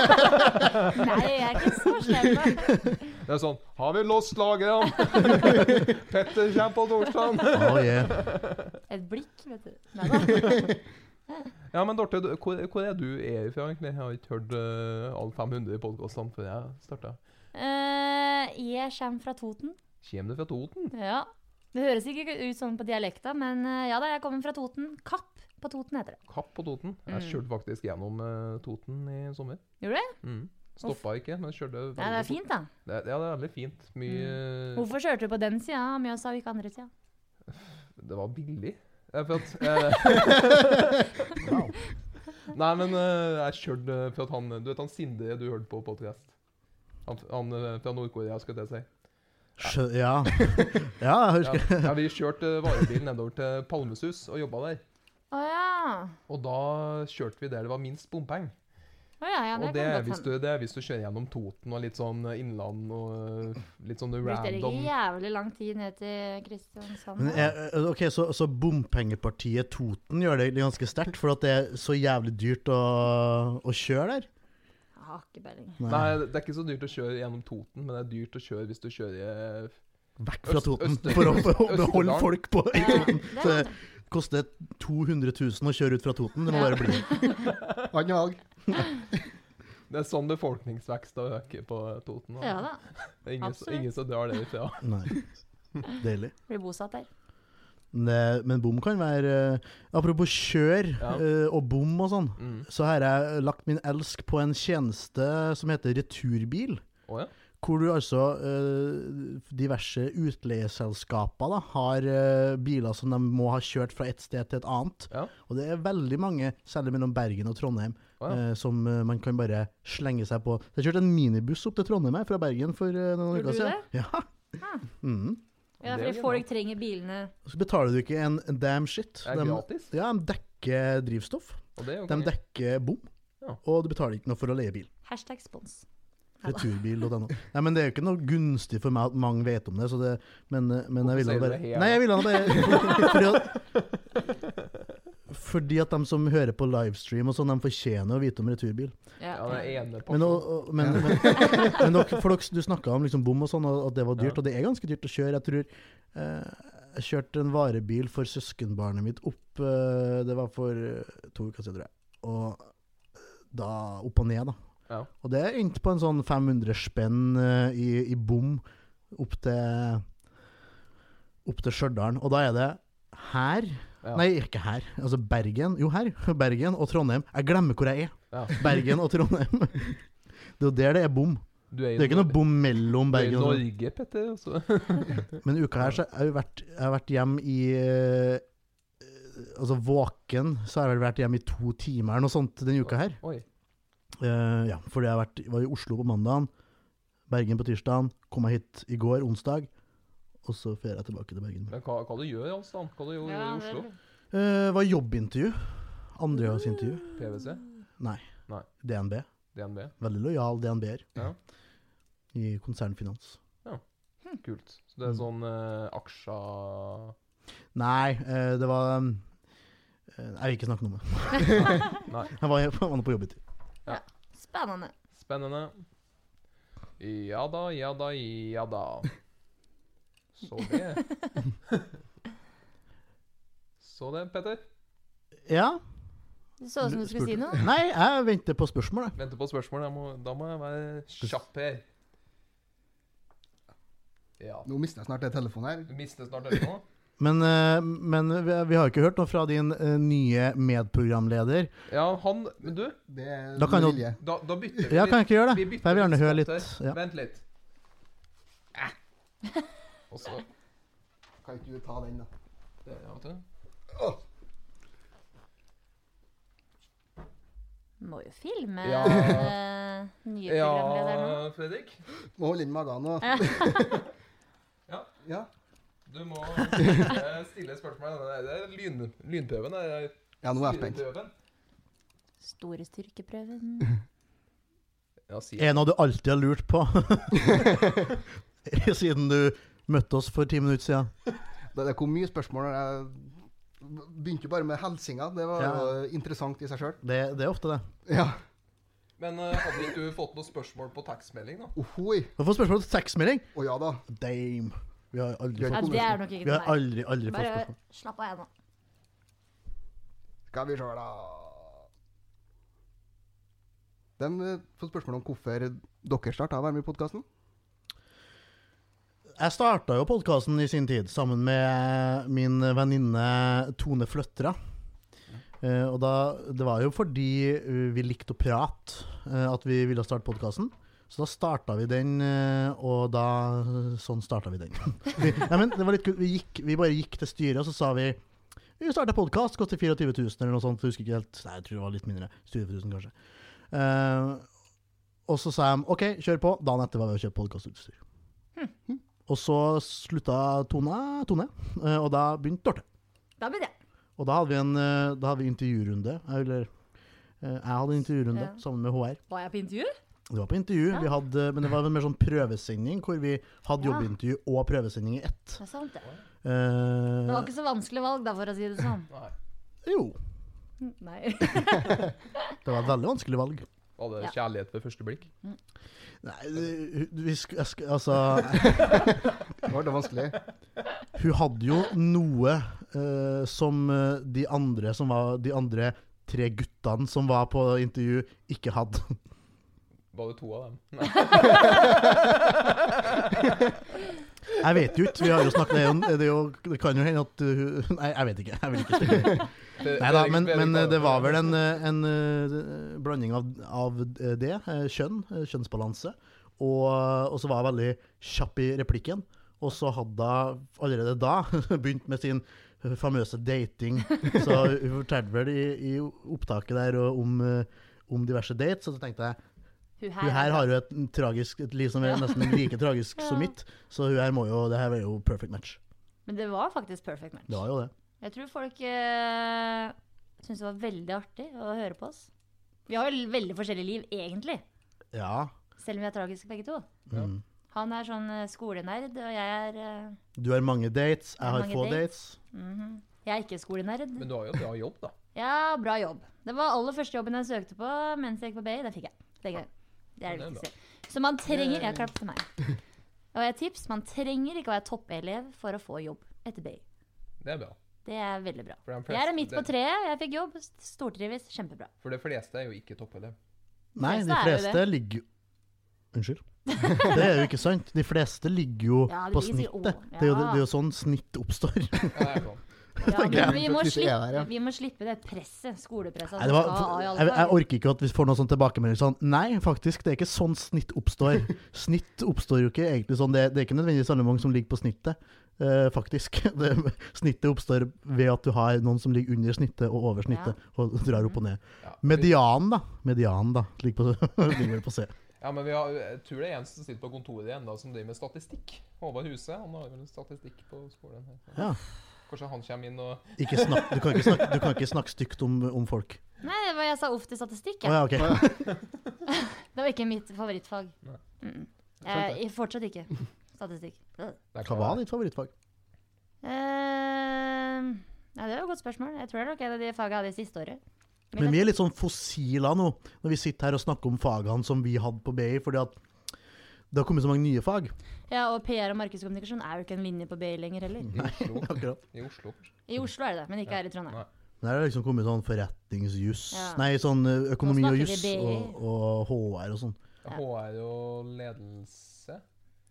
Speaker 3: Nei, jeg er ikke så slem. da.
Speaker 1: Det er sånn Har vi lost lageret? Petter kommer på torsdag!
Speaker 2: Oh, yeah.
Speaker 3: Et blikk, vet du. Nei da.
Speaker 1: Ja, men Dorte, du- hvor, hvor er du er fra egentlig? Jeg har ikke hørt eh, alle 500 podkastene før jeg starta.
Speaker 3: Eh, jeg kommer fra Toten.
Speaker 1: Kjem du fra Toten?
Speaker 3: Ja. Det høres ikke ut sånn på dialekta, men eh, ja da, jeg kommer fra Toten. Kapp på Toten heter det.
Speaker 1: Kapp på Toten? Jeg
Speaker 3: Mm.
Speaker 1: kjørte faktisk gjennom eh, Toten i sommer.
Speaker 3: Gjorde du det?
Speaker 1: Mm. Stoppa ikke, men kjørte
Speaker 3: Ja, det
Speaker 1: veldig
Speaker 3: er fint, Mm. da.
Speaker 1: fort. Det, ja, det er veldig fint. Mye eh,
Speaker 3: Hvorfor kjørte du på den sida av Mjøsa og ikke andre sida?
Speaker 1: Det var billig. Eh, For at eh, Nei, men eh, jeg kjørte for at han Du vet han Sinde du hørte på podkast? Han, han eh, fra Nord-Korea, skal jeg til å si.
Speaker 2: Skjø ja. ja, jeg
Speaker 1: Ja,
Speaker 2: husker.
Speaker 1: ja, vi kjørte varebil nedover til Palmesus og jobba der.
Speaker 3: Å ja.
Speaker 1: Og da kjørte vi der det var minst bompenger.
Speaker 3: Å ja, ja, det
Speaker 1: og det
Speaker 3: kan
Speaker 1: er,
Speaker 3: godt
Speaker 1: hvis
Speaker 3: hende.
Speaker 1: du, det er hvis du kjører gjennom Toten og litt sånn eh, innland og eh, litt sånn
Speaker 3: Brukte dere
Speaker 1: random eh,
Speaker 3: ikke jævlig lang tid ned til Kristiansand?
Speaker 2: Men
Speaker 3: da?
Speaker 2: jeg, eh, ok, så, så bompengepartiet Toten gjør det egentlig ganske sterkt, for at det er så jævlig dyrt å, å kjøre der.
Speaker 3: Jeg har ikke peiling.
Speaker 1: Nei, det er ikke så dyrt å kjøre gjennom Toten, men det er dyrt å kjøre hvis du kjører eh,
Speaker 2: Vekk fra
Speaker 1: Øst-
Speaker 2: Toten,
Speaker 1: Østerdalen.
Speaker 2: for å, for å
Speaker 1: Østerdalen.
Speaker 2: beholde folk på i Toten.
Speaker 3: det er
Speaker 2: Så det koster 200 000 å kjøre ut fra Toten, det må
Speaker 3: Ja.
Speaker 2: bare bli.
Speaker 4: Annen valg.
Speaker 1: Det er sånn befolkningsvekst har øker på Toten. da.
Speaker 3: Ja da.
Speaker 1: Det er ingen,
Speaker 3: absolutt.
Speaker 1: ingen som drar det ifra.
Speaker 2: Nei. Deilig.
Speaker 3: Blir bosatt der.
Speaker 2: Ne- Men bom kan være eh, Apropos kjør
Speaker 1: Ja.
Speaker 2: eh, og bom og sånn,
Speaker 1: Mm.
Speaker 2: så har jeg lagt min elsk på en tjeneste som heter Returbil.
Speaker 1: Å ja.
Speaker 2: Hvor du altså eh, diverse utleieselskaper da, har eh, biler som de må ha kjørt fra et sted til et annet.
Speaker 1: Ja.
Speaker 2: Og det er veldig mange, særlig mellom Bergen og Trondheim,
Speaker 1: Å ja.
Speaker 2: eh, som eh, man kan bare slenge seg på. Jeg kjørte en minibuss opp til Trondheim her fra Bergen for eh, noen uker
Speaker 3: Gjorde du
Speaker 2: siden. Ja.
Speaker 3: Ah.
Speaker 2: Mhm.
Speaker 1: Det
Speaker 3: Ja,
Speaker 1: er
Speaker 3: fordi
Speaker 1: jo
Speaker 3: folk
Speaker 1: bra.
Speaker 3: trenger bilene
Speaker 2: Så betaler du ikke en damn shit.
Speaker 1: Det er
Speaker 2: De-
Speaker 1: gratis.
Speaker 2: ja, de dekker drivstoff.
Speaker 1: Og det er jo
Speaker 2: De
Speaker 1: konge.
Speaker 2: dekker bom.
Speaker 1: Ja.
Speaker 2: Og du betaler ikke noe for å leie bil.
Speaker 3: Hashtag spons. Neida.
Speaker 2: Returbil.no. Nei, men det er jo ikke noe gunstig for meg at mange vet om det, så det Men, men jeg ville
Speaker 1: Hvorfor sier du
Speaker 2: nå
Speaker 1: det her?
Speaker 2: bare Nei, jeg ville nå bare fordi at, fordi at de som hører på livestream og sånn, de fortjener å vite om returbil.
Speaker 3: Ja.
Speaker 1: Ja, den ene pakken.
Speaker 2: Men, og, og, men, men, men dere, for dere, du snakka om liksom bom og sånn, og at det var dyrt.
Speaker 1: Ja.
Speaker 2: Og det er ganske dyrt å kjøre. Jeg tror eh, jeg kjørte en varebil for søskenbarnet mitt opp eh, Det var for eh, to uker siden, tror jeg. Og eh, da opp og ned, da.
Speaker 1: Ja.
Speaker 2: Og det endte på en sånn 500 spenn eh, i, i bom opp til Opp til Stjørdal. Og da er det her
Speaker 1: Ja.
Speaker 2: Nei, ikke her. Altså Bergen. Jo, her. Bergen og Trondheim. Jeg glemmer hvor jeg er.
Speaker 1: Ja.
Speaker 2: Bergen og Trondheim. Det er jo der det er bom.
Speaker 1: Du er
Speaker 2: Det er ikke noe bom mellom
Speaker 1: Bergen
Speaker 2: Bergen og Trondheim.
Speaker 1: Norge, Petter. Altså.
Speaker 2: Men i uka her så har jeg vært, jeg har vært hjemme i eh, Altså våken så har jeg vel vært hjemme i to timer eller noe sånt denne uka her.
Speaker 1: Oi.
Speaker 2: Eh, ja, fordi jeg har vært, var i Oslo på mandagen, Bergen på tirsdagen, kom jeg hit i går, onsdag. Og så fer jeg tilbake til Bergen.
Speaker 1: Men hva, hva du gjør altså? Hva du gjør i Oslo?
Speaker 2: Eh, Det var jobbintervju. Andreårsintervju.
Speaker 1: PwC?
Speaker 2: Nei.
Speaker 1: Nei.
Speaker 2: DNB.
Speaker 1: DNB.
Speaker 2: Veldig lojal DNB-er
Speaker 1: Ja.
Speaker 2: i konsernfinans.
Speaker 1: Kult. Så det er
Speaker 2: Mm.
Speaker 1: sånn uh, aksjer
Speaker 2: Nei, eh, det var eh, Jeg vil ikke snakke noe om det.
Speaker 1: Nei.
Speaker 2: Jeg var, jeg var nå på jobbetur.
Speaker 3: Spennende.
Speaker 1: Spennende. Ja da, ja da, ja da. Så det. Så det, Petter.
Speaker 2: Ja.
Speaker 3: Det så ut som du skulle si noe.
Speaker 2: Nei, jeg venter på spørsmål, jeg.
Speaker 1: Venter på spørsmål. Jeg må, da må jeg være kjapp her. Ja.
Speaker 4: Nå mister jeg snart den telefonen her.
Speaker 1: Du mister snart øynene nå.
Speaker 2: Men, eh, men vi, vi har ikke hørt noe fra din eh, nye medprogramleder.
Speaker 1: Ja, han Men du,
Speaker 4: Det er
Speaker 2: Da kan
Speaker 4: med
Speaker 2: jo-
Speaker 4: vilje.
Speaker 1: da, da bytter vi
Speaker 2: Ja, kan jeg ikke gjøre det?
Speaker 1: Vi
Speaker 2: For
Speaker 1: bytter
Speaker 2: jeg vil gjerne høre litt.
Speaker 1: spotter.
Speaker 2: Ja.
Speaker 1: Vent litt. Eh. Og så
Speaker 4: Kan ikke du ta den, da?
Speaker 1: der, ja, vet du.
Speaker 3: Må jo filme
Speaker 1: Ja.
Speaker 3: eh, nye programleder nå.
Speaker 1: Ja, Fredrik.
Speaker 4: Må holde inn magen nå.
Speaker 1: Ja.
Speaker 4: Ja.
Speaker 1: Du må eh, stille spørsmål. Det er lyn, lynprøven. Det er
Speaker 4: Ja, nå er jeg spent.
Speaker 1: styreprøven.
Speaker 3: Store styrkeprøven.
Speaker 1: Ja, si
Speaker 2: Er det noe du alltid har lurt på siden du møtte oss for ti minutter siden?
Speaker 4: Det, det kom mye spørsmål. Jeg begynte jo bare med helsinga. Det var
Speaker 2: Ja.
Speaker 4: jo interessant i seg sjøl.
Speaker 2: Det, det er ofte det.
Speaker 4: Ja.
Speaker 1: Men eh, hadde ikke du fått noe spørsmål på tekstmelding, da?
Speaker 4: Ohoi.
Speaker 2: Du har fått spørsmål til tekstmelding.
Speaker 4: Å ja da.
Speaker 2: Damn. Vi har aldri
Speaker 4: Ja,
Speaker 3: Ja,
Speaker 2: fått
Speaker 3: det
Speaker 2: spørsmål.
Speaker 3: er nok ikke
Speaker 2: Vi har
Speaker 3: til meg.
Speaker 2: aldri, aldri fått
Speaker 3: Bare
Speaker 2: spørsmål.
Speaker 3: slapp av, jeg nå.
Speaker 4: Skal vi se, da. De eh, får spørsmål om hvorfor dere starta å være med i podkasten.
Speaker 2: Jeg starta jo podkasten i sin tid sammen med min venninne Tone Fløtra. Eh, og da, det var jo fordi eh, vi likte å prate eh, at vi ville starte podkasten. Så da starta vi den, eh, og da Sånn starta vi den. vi, nei, men det var litt kult. Vi, gikk, vi bare gikk til styret, og så sa vi vi starter podkast, koster 24 000 eller noe sånt. Jeg husker ikke helt. Nei, jeg tror det var litt mindre. 24 000, kanskje. Eh, og så sa de OK, kjør på. Dagen etter var vi og kjøpte podkastutstyr. Og så slutta Tone, Tone eh, og da begynte Dorte.
Speaker 3: Da blir det.
Speaker 2: Og da hadde vi en eh, da hadde vi intervjurunde. Eller eh, jeg hadde en intervjurunde
Speaker 3: Ja.
Speaker 2: sammen med HR.
Speaker 3: Var jeg på intervju?
Speaker 2: Det var på intervju,
Speaker 3: Ja.
Speaker 2: vi hadde, men det var en mer sånn prøvesending hvor vi hadde
Speaker 3: Ja.
Speaker 2: jobbintervju og prøvesending i ett.
Speaker 3: Det er sant, det.
Speaker 2: Eh,
Speaker 3: Det var ikke så vanskelig valg, da, for å si det sånn.
Speaker 1: Nei.
Speaker 2: jo,
Speaker 3: Nei.
Speaker 2: det var et veldig vanskelig valg.
Speaker 1: Var det
Speaker 3: Ja.
Speaker 1: kjærlighet ved første blikk?
Speaker 2: Nei, det- vi sk jeg sk altså
Speaker 4: Det var det vanskelig.
Speaker 2: Hun hadde jo noe eh, som eh, de andre som var De andre tre guttene som var på intervju, ikke hadde.
Speaker 1: Var det to av dem? Nei.
Speaker 2: Jeg vet jo ikke. Vi har jo snakket det, er jo- det, er jo, det kan jo hende at hun Nei, jeg vet ikke. Jeg vil ikke spekulere. Nei da, men, men eh, det var vel en, eh, en eh, blanding av, av eh, det, eh, kjønn, eh, kjønnsbalanse, og, og så var jeg veldig kjapp i replikken. Og så hadde hun allerede da begynt med sin famøse dating. Så hun fortalte vel i, i opptaket der og om, eh, om diverse dates, og så tenkte jeg
Speaker 3: Hun
Speaker 2: hun her har jo et tragisk, et liv som er nesten like tragisk som
Speaker 3: Ja.
Speaker 2: mitt, så hun her må jo, det her er jo perfect match.
Speaker 3: Men det var faktisk perfect match.
Speaker 2: Det var jo det.
Speaker 3: Jeg tror folk uh, syntes det var veldig artig å høre på oss. Vi har jo veldig forskjellige liv, egentlig.
Speaker 2: Ja.
Speaker 3: Selv om vi er tragiske begge to.
Speaker 1: Ja.
Speaker 2: Mm.
Speaker 3: Han er sånn eh, skolenerd, og jeg er eh,
Speaker 2: Du har mange dates,
Speaker 3: Jeg
Speaker 2: jeg
Speaker 3: har
Speaker 2: har
Speaker 3: mange
Speaker 2: få dates.
Speaker 3: dates. mhm. Jeg er ikke skolenerd.
Speaker 1: Men du har jo et bra jobb, da.
Speaker 3: Ja, bra jobb. Det var aller første jobben jeg søkte på mens jeg gikk på BI. Den fikk jeg. Det er gøy. Det er det
Speaker 1: Ja, det er
Speaker 3: viktigste. Så man trenger Jeg klapper til meg. Og et tips man trenger ikke å være toppelev for å få jobb etter BI.
Speaker 1: Det er bra.
Speaker 3: Det er veldig bra.
Speaker 1: For de fleste,
Speaker 3: Jeg er midt på
Speaker 1: det-
Speaker 3: treet. Jeg fikk jobb. Stortrives. Kjempebra.
Speaker 1: For de fleste er jo ikke toppelev.
Speaker 2: Nei,
Speaker 3: fleste
Speaker 2: de
Speaker 3: er jo
Speaker 2: fleste ligger jo Unnskyld. Det er jo ikke sant. De fleste ligger jo
Speaker 3: Ja, de
Speaker 2: på
Speaker 3: ligger
Speaker 2: snittet.
Speaker 3: sikkert- Å,
Speaker 2: Det er jo, det er
Speaker 3: ja.
Speaker 2: jo sånn snitt oppstår. Nei,
Speaker 1: Ja, det er sånn.
Speaker 3: Ja, men vi må,
Speaker 4: Hvis vi er der, ja.
Speaker 3: slippe, vi må slippe det presset. Skolepresset.
Speaker 2: det
Speaker 3: som
Speaker 2: var,
Speaker 3: skal av Altså, i alle
Speaker 2: jeg, jeg
Speaker 3: dager.
Speaker 2: orker ikke at vi får noen sånn tilbakemelding sånn Nei, faktisk, det er ikke sånn snitt oppstår. Snitt oppstår jo ikke egentlig sånn. Det, det er ikke nødvendigvis alle mange som ligger på snittet, eh, faktisk. Det, snittet oppstår ved at du har noen som ligger under snittet og over snittet, og drar opp og ned.
Speaker 1: Ja.
Speaker 2: Medianen, da. Medianen, da. Ligger på, ligger vel på C.
Speaker 1: Ja, men vi har, jeg tror det er en som sitter på kontoret igjen da, som driver med statistikk. Håvard Huse. Han har vel statistikk på skolen. her.
Speaker 2: Ja.
Speaker 1: Kanskje han kommer inn og
Speaker 2: Ikke snakk, du, kan ikke snakke, du kan ikke snakke stygt om, om folk.
Speaker 3: Nei, det var, jeg sa uff til statistikk.
Speaker 2: Å
Speaker 3: Jeg.
Speaker 2: ja, ok.
Speaker 3: Det var ikke mitt favorittfag.
Speaker 1: Nei.
Speaker 3: Mm.
Speaker 1: Skjønte.
Speaker 3: Eh, fortsatt ikke. Statistikk. Øh.
Speaker 1: Det er
Speaker 2: Hva var ditt favorittfag?
Speaker 3: Eh, ja, det var et godt spørsmål. Jeg tror det er nok et av de fagene jeg hadde i siste året.
Speaker 2: Men vi er litt sånn fossila nå, når vi sitter her og snakker om fagene som vi hadde på BI, fordi at det har kommet så mange nye fag.
Speaker 3: Ja, og PR og markedskommunikasjon er jo ikke en linje på BI lenger heller.
Speaker 2: Mm.
Speaker 1: I Oslo.
Speaker 2: Akkurat.
Speaker 1: I Oslo.
Speaker 3: I Oslo er det det, men ikke her i Trondheim.
Speaker 1: Nei.
Speaker 2: Men her har det liksom kommet sånn forretningsjuss,
Speaker 3: Ja.
Speaker 2: nei, sånn eh, økonomi
Speaker 3: Nå
Speaker 2: og
Speaker 3: snakker
Speaker 2: juss
Speaker 3: vi BI.
Speaker 2: og, og HR og sånn.
Speaker 3: Ja.
Speaker 1: HR og ledelse.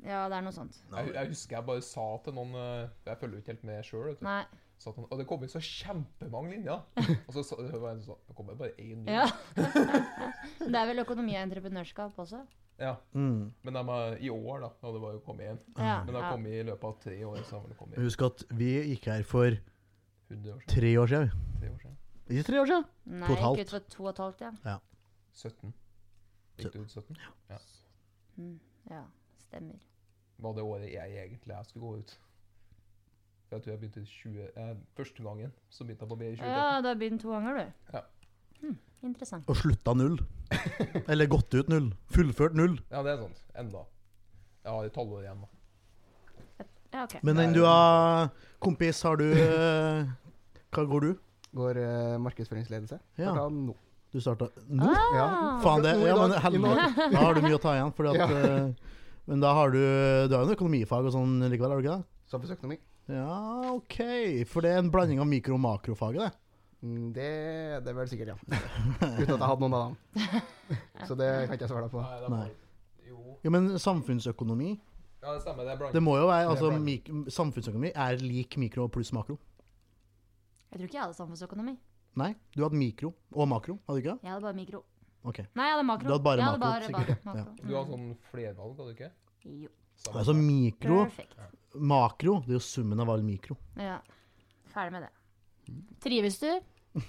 Speaker 3: Ja, det er noe sånt.
Speaker 1: Jeg, jeg husker jeg bare sa til noen eh, Jeg følger jo ikke helt med sjøl.
Speaker 3: Nei.
Speaker 1: Og det kom inn så kjempemange linjer. Og så sa- det var en sånn, det kom det bare én ny.
Speaker 3: Ja. det er vel økonomi og entreprenørskap også?
Speaker 1: Ja.
Speaker 2: Mm.
Speaker 1: Men de er i år, da. Og det var jo kommet én.
Speaker 2: Ah.
Speaker 3: Ja.
Speaker 1: Men de har kommet i løpet av tre år. Så har det kommet
Speaker 2: Husk at vi gikk her for
Speaker 1: 100 år siden.
Speaker 2: tre år siden.
Speaker 1: Tre år siden.
Speaker 2: Ikke tre år siden?
Speaker 3: Nei,
Speaker 2: To og et halvt.
Speaker 3: gikk ut for to og et halvt, ja.
Speaker 1: 17. Gikk du ut 17?
Speaker 3: Mm, ja, stemmer.
Speaker 1: Var det året jeg egentlig jeg skulle gå ut? For jeg tror jeg begynte i 20... Eh, første gangen så begynte jeg på B i 2013.
Speaker 3: Ja, du har begynt to ganger, du.
Speaker 1: Ja.
Speaker 3: Hm, interessant.
Speaker 2: Og slutta null. Eller gått ut null. Fullført null.
Speaker 1: Ja, det er sant. Enda. Jeg har et halvår igjen, da.
Speaker 3: Ja, ok.
Speaker 2: Men den du har Kompis, har du eh, Hva går du?
Speaker 4: Går eh, markedsføringsledelse.
Speaker 2: Ja.
Speaker 4: Starta nå.
Speaker 2: Du starta
Speaker 3: Ah.
Speaker 2: nå?
Speaker 4: Ja.
Speaker 2: Faen, det
Speaker 4: Nå i
Speaker 2: ja, men
Speaker 4: dag, i
Speaker 2: helvete. Da har du mye å ta igjen. Fordi at,
Speaker 4: Ja.
Speaker 2: eh, men da har du Du har jo en økonomifag og sånn likevel, har du ikke det?
Speaker 4: Samfunnsøkonomi.
Speaker 2: Ja, OK. For det er en blanding av mikro- og makrofaget, det.
Speaker 4: Mm, Det, det er vel sikkert, ja. Uten at jeg hadde noen av dem. Så det kan ikke jeg svare deg på.
Speaker 1: det
Speaker 2: Nei.
Speaker 1: Jo.
Speaker 2: Ja, Men samfunnsøkonomi
Speaker 1: Ja, det stemmer. Det er
Speaker 2: Det
Speaker 1: blandet.
Speaker 2: må jo være altså,
Speaker 1: Det er
Speaker 2: mik Samfunnsøkonomi er lik mikro pluss makro.
Speaker 3: Jeg tror ikke jeg hadde samfunnsøkonomi.
Speaker 2: Nei, du hadde mikro og makro, hadde du ikke det?
Speaker 3: Jeg hadde bare mikro.
Speaker 2: Ok.
Speaker 3: Nei, jeg hadde makro.
Speaker 2: Du hadde bare
Speaker 3: jeg hadde
Speaker 2: makro,
Speaker 3: bare,
Speaker 2: sikkert,
Speaker 3: bare makro.
Speaker 1: Du har sånn flervalg, hadde du ikke?
Speaker 3: Jo,
Speaker 1: Samme.
Speaker 2: Altså mikro
Speaker 3: perfekt.
Speaker 2: Makro, det er jo summen av all mikro.
Speaker 3: Ja. Ferdig med det. Trives du?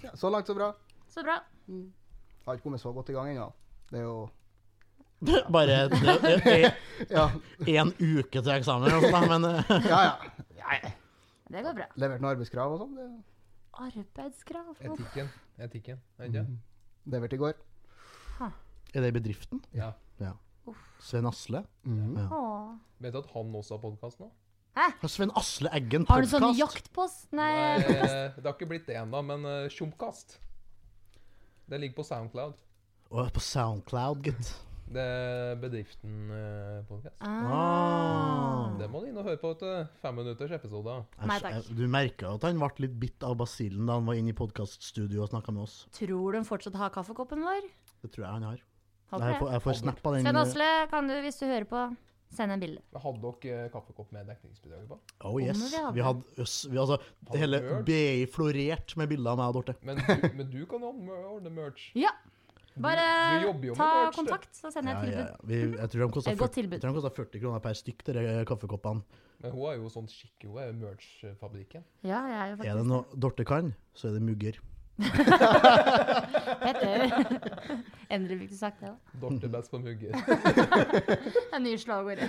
Speaker 4: Ja, Så langt, så bra.
Speaker 3: Så bra.
Speaker 4: Jeg har ikke kommet så godt i gang ennå. Det er jo
Speaker 2: Bare
Speaker 4: Ja,
Speaker 2: én uke til eksamen, altså, da, men eh,
Speaker 4: ja. ja. ja, ja.
Speaker 3: Det går bra.
Speaker 4: Levert noen arbeidskrav og sånn. det-
Speaker 3: Arbeidskrav. Uff.
Speaker 1: Etikken. Etikken, er det ikke?
Speaker 4: Levert i går.
Speaker 2: Er det i bedriften?
Speaker 1: Ja.
Speaker 2: Sven Asle?
Speaker 4: Mhm.
Speaker 3: Åh.
Speaker 1: Vet du at han også har podkast nå?
Speaker 2: Har Sven Asle Eggen
Speaker 3: Har du sånn
Speaker 2: podkast?
Speaker 3: jaktpost? Nei.
Speaker 1: eh, det har ikke blitt det ennå, men eh, Tjomkast. Det ligger på Soundcloud.
Speaker 2: Å, på Soundcloud, gitt.
Speaker 1: Det er bedriften eh, podcast.
Speaker 2: Ah.
Speaker 1: Det må du inn og høre på etter fem minutters episode.
Speaker 3: Nei,
Speaker 2: Jeg-
Speaker 3: takk.
Speaker 2: jeg- Du merka at han ble litt bitt av basillen da han var inne i podkaststudioet og snakka med oss.
Speaker 3: Tror du hun fortsatt har kaffekoppen vår?
Speaker 2: Det tror jeg han har.
Speaker 3: Håper
Speaker 2: Jeg
Speaker 3: det.
Speaker 2: får, jeg får snap av den.
Speaker 3: Sven
Speaker 2: eh,
Speaker 3: Asle, kan du, hvis du hører på, send en bilde.
Speaker 1: Men Hadde dere eh, kaffekopp med dekningsbidrag på?
Speaker 2: Oh yes.
Speaker 3: Kommer
Speaker 2: Vi
Speaker 3: vi
Speaker 2: hadde øss, vi, altså, det hele
Speaker 1: Hadde
Speaker 2: BI florert med bilder av meg og Dorte.
Speaker 1: Men du, men du kan jo mer- ordne merch.
Speaker 3: Ja. Bare
Speaker 1: du jobber jo med
Speaker 3: ta
Speaker 1: merch, du.
Speaker 3: kontakt, så sender
Speaker 2: Ja, ja,
Speaker 3: jeg et tilbud.
Speaker 2: ja. Vi, jeg tror de kosta
Speaker 3: Et godt
Speaker 2: 40, jeg
Speaker 3: tilbud.
Speaker 2: tror de kostet 40 kroner per stykk, de der kaffekoppene.
Speaker 1: Men hun er jo sånn skikk, hun er jo merch-fabrikken.
Speaker 3: Ja, jeg er jo
Speaker 2: Er det
Speaker 3: faktisk
Speaker 2: noe Dorte kan, så er det mugger.
Speaker 3: Petter. Endelig fikk du sagt det. da.
Speaker 1: Dorte best på mugger.
Speaker 3: Det er nye slagord.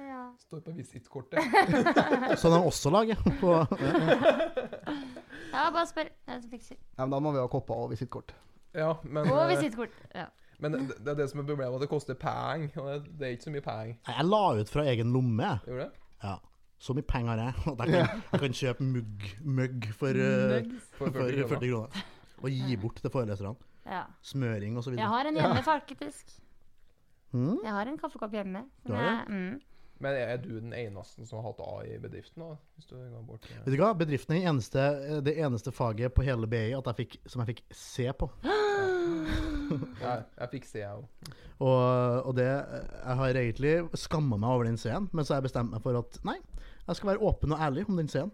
Speaker 3: Ja.
Speaker 1: Står på visittkortet.
Speaker 2: Som de Sånn også lager. På,
Speaker 3: ja, bare spør. Jeg fikser.
Speaker 4: Ja, men da må vi ha kopper og visittkort.
Speaker 1: Ja, men,
Speaker 3: Og
Speaker 1: eh,
Speaker 3: visittkort. Ja.
Speaker 1: men det, det er det som er problemet, at det koster penger. Og det, det er ikke så mye penger.
Speaker 2: Nei, jeg la ut fra egen lomme. jeg.
Speaker 1: Gjorde det?
Speaker 2: Ja. Så mye penger har jeg at jeg kan, jeg kan kjøpe mugg, mugg for, eh,
Speaker 3: Nugs.
Speaker 1: For
Speaker 2: for
Speaker 1: 40 kroner.
Speaker 2: 40 kroner. Og gi bort til foreleserne.
Speaker 3: Ja.
Speaker 2: Smøring osv.
Speaker 3: Jeg har en hjemme, faktisk.
Speaker 2: Mm?
Speaker 3: Jeg har en kaffekopp hjemme.
Speaker 2: Du har
Speaker 3: jeg- mm.
Speaker 1: Men er du den eneste som har hatt A i bedriften? da? Hvis du går bort til-
Speaker 2: Vet du hva? Bedriften er den eneste, eh, det eneste faget på hele BI at jeg fikk, som jeg fikk se på.
Speaker 1: Jeg, jeg fikk se, jeg òg.
Speaker 2: Og, og det eh, Jeg har egentlig skamma meg over den C-en, men så har jeg bestemt meg for at nei, jeg skal være åpen og ærlig om den C-en.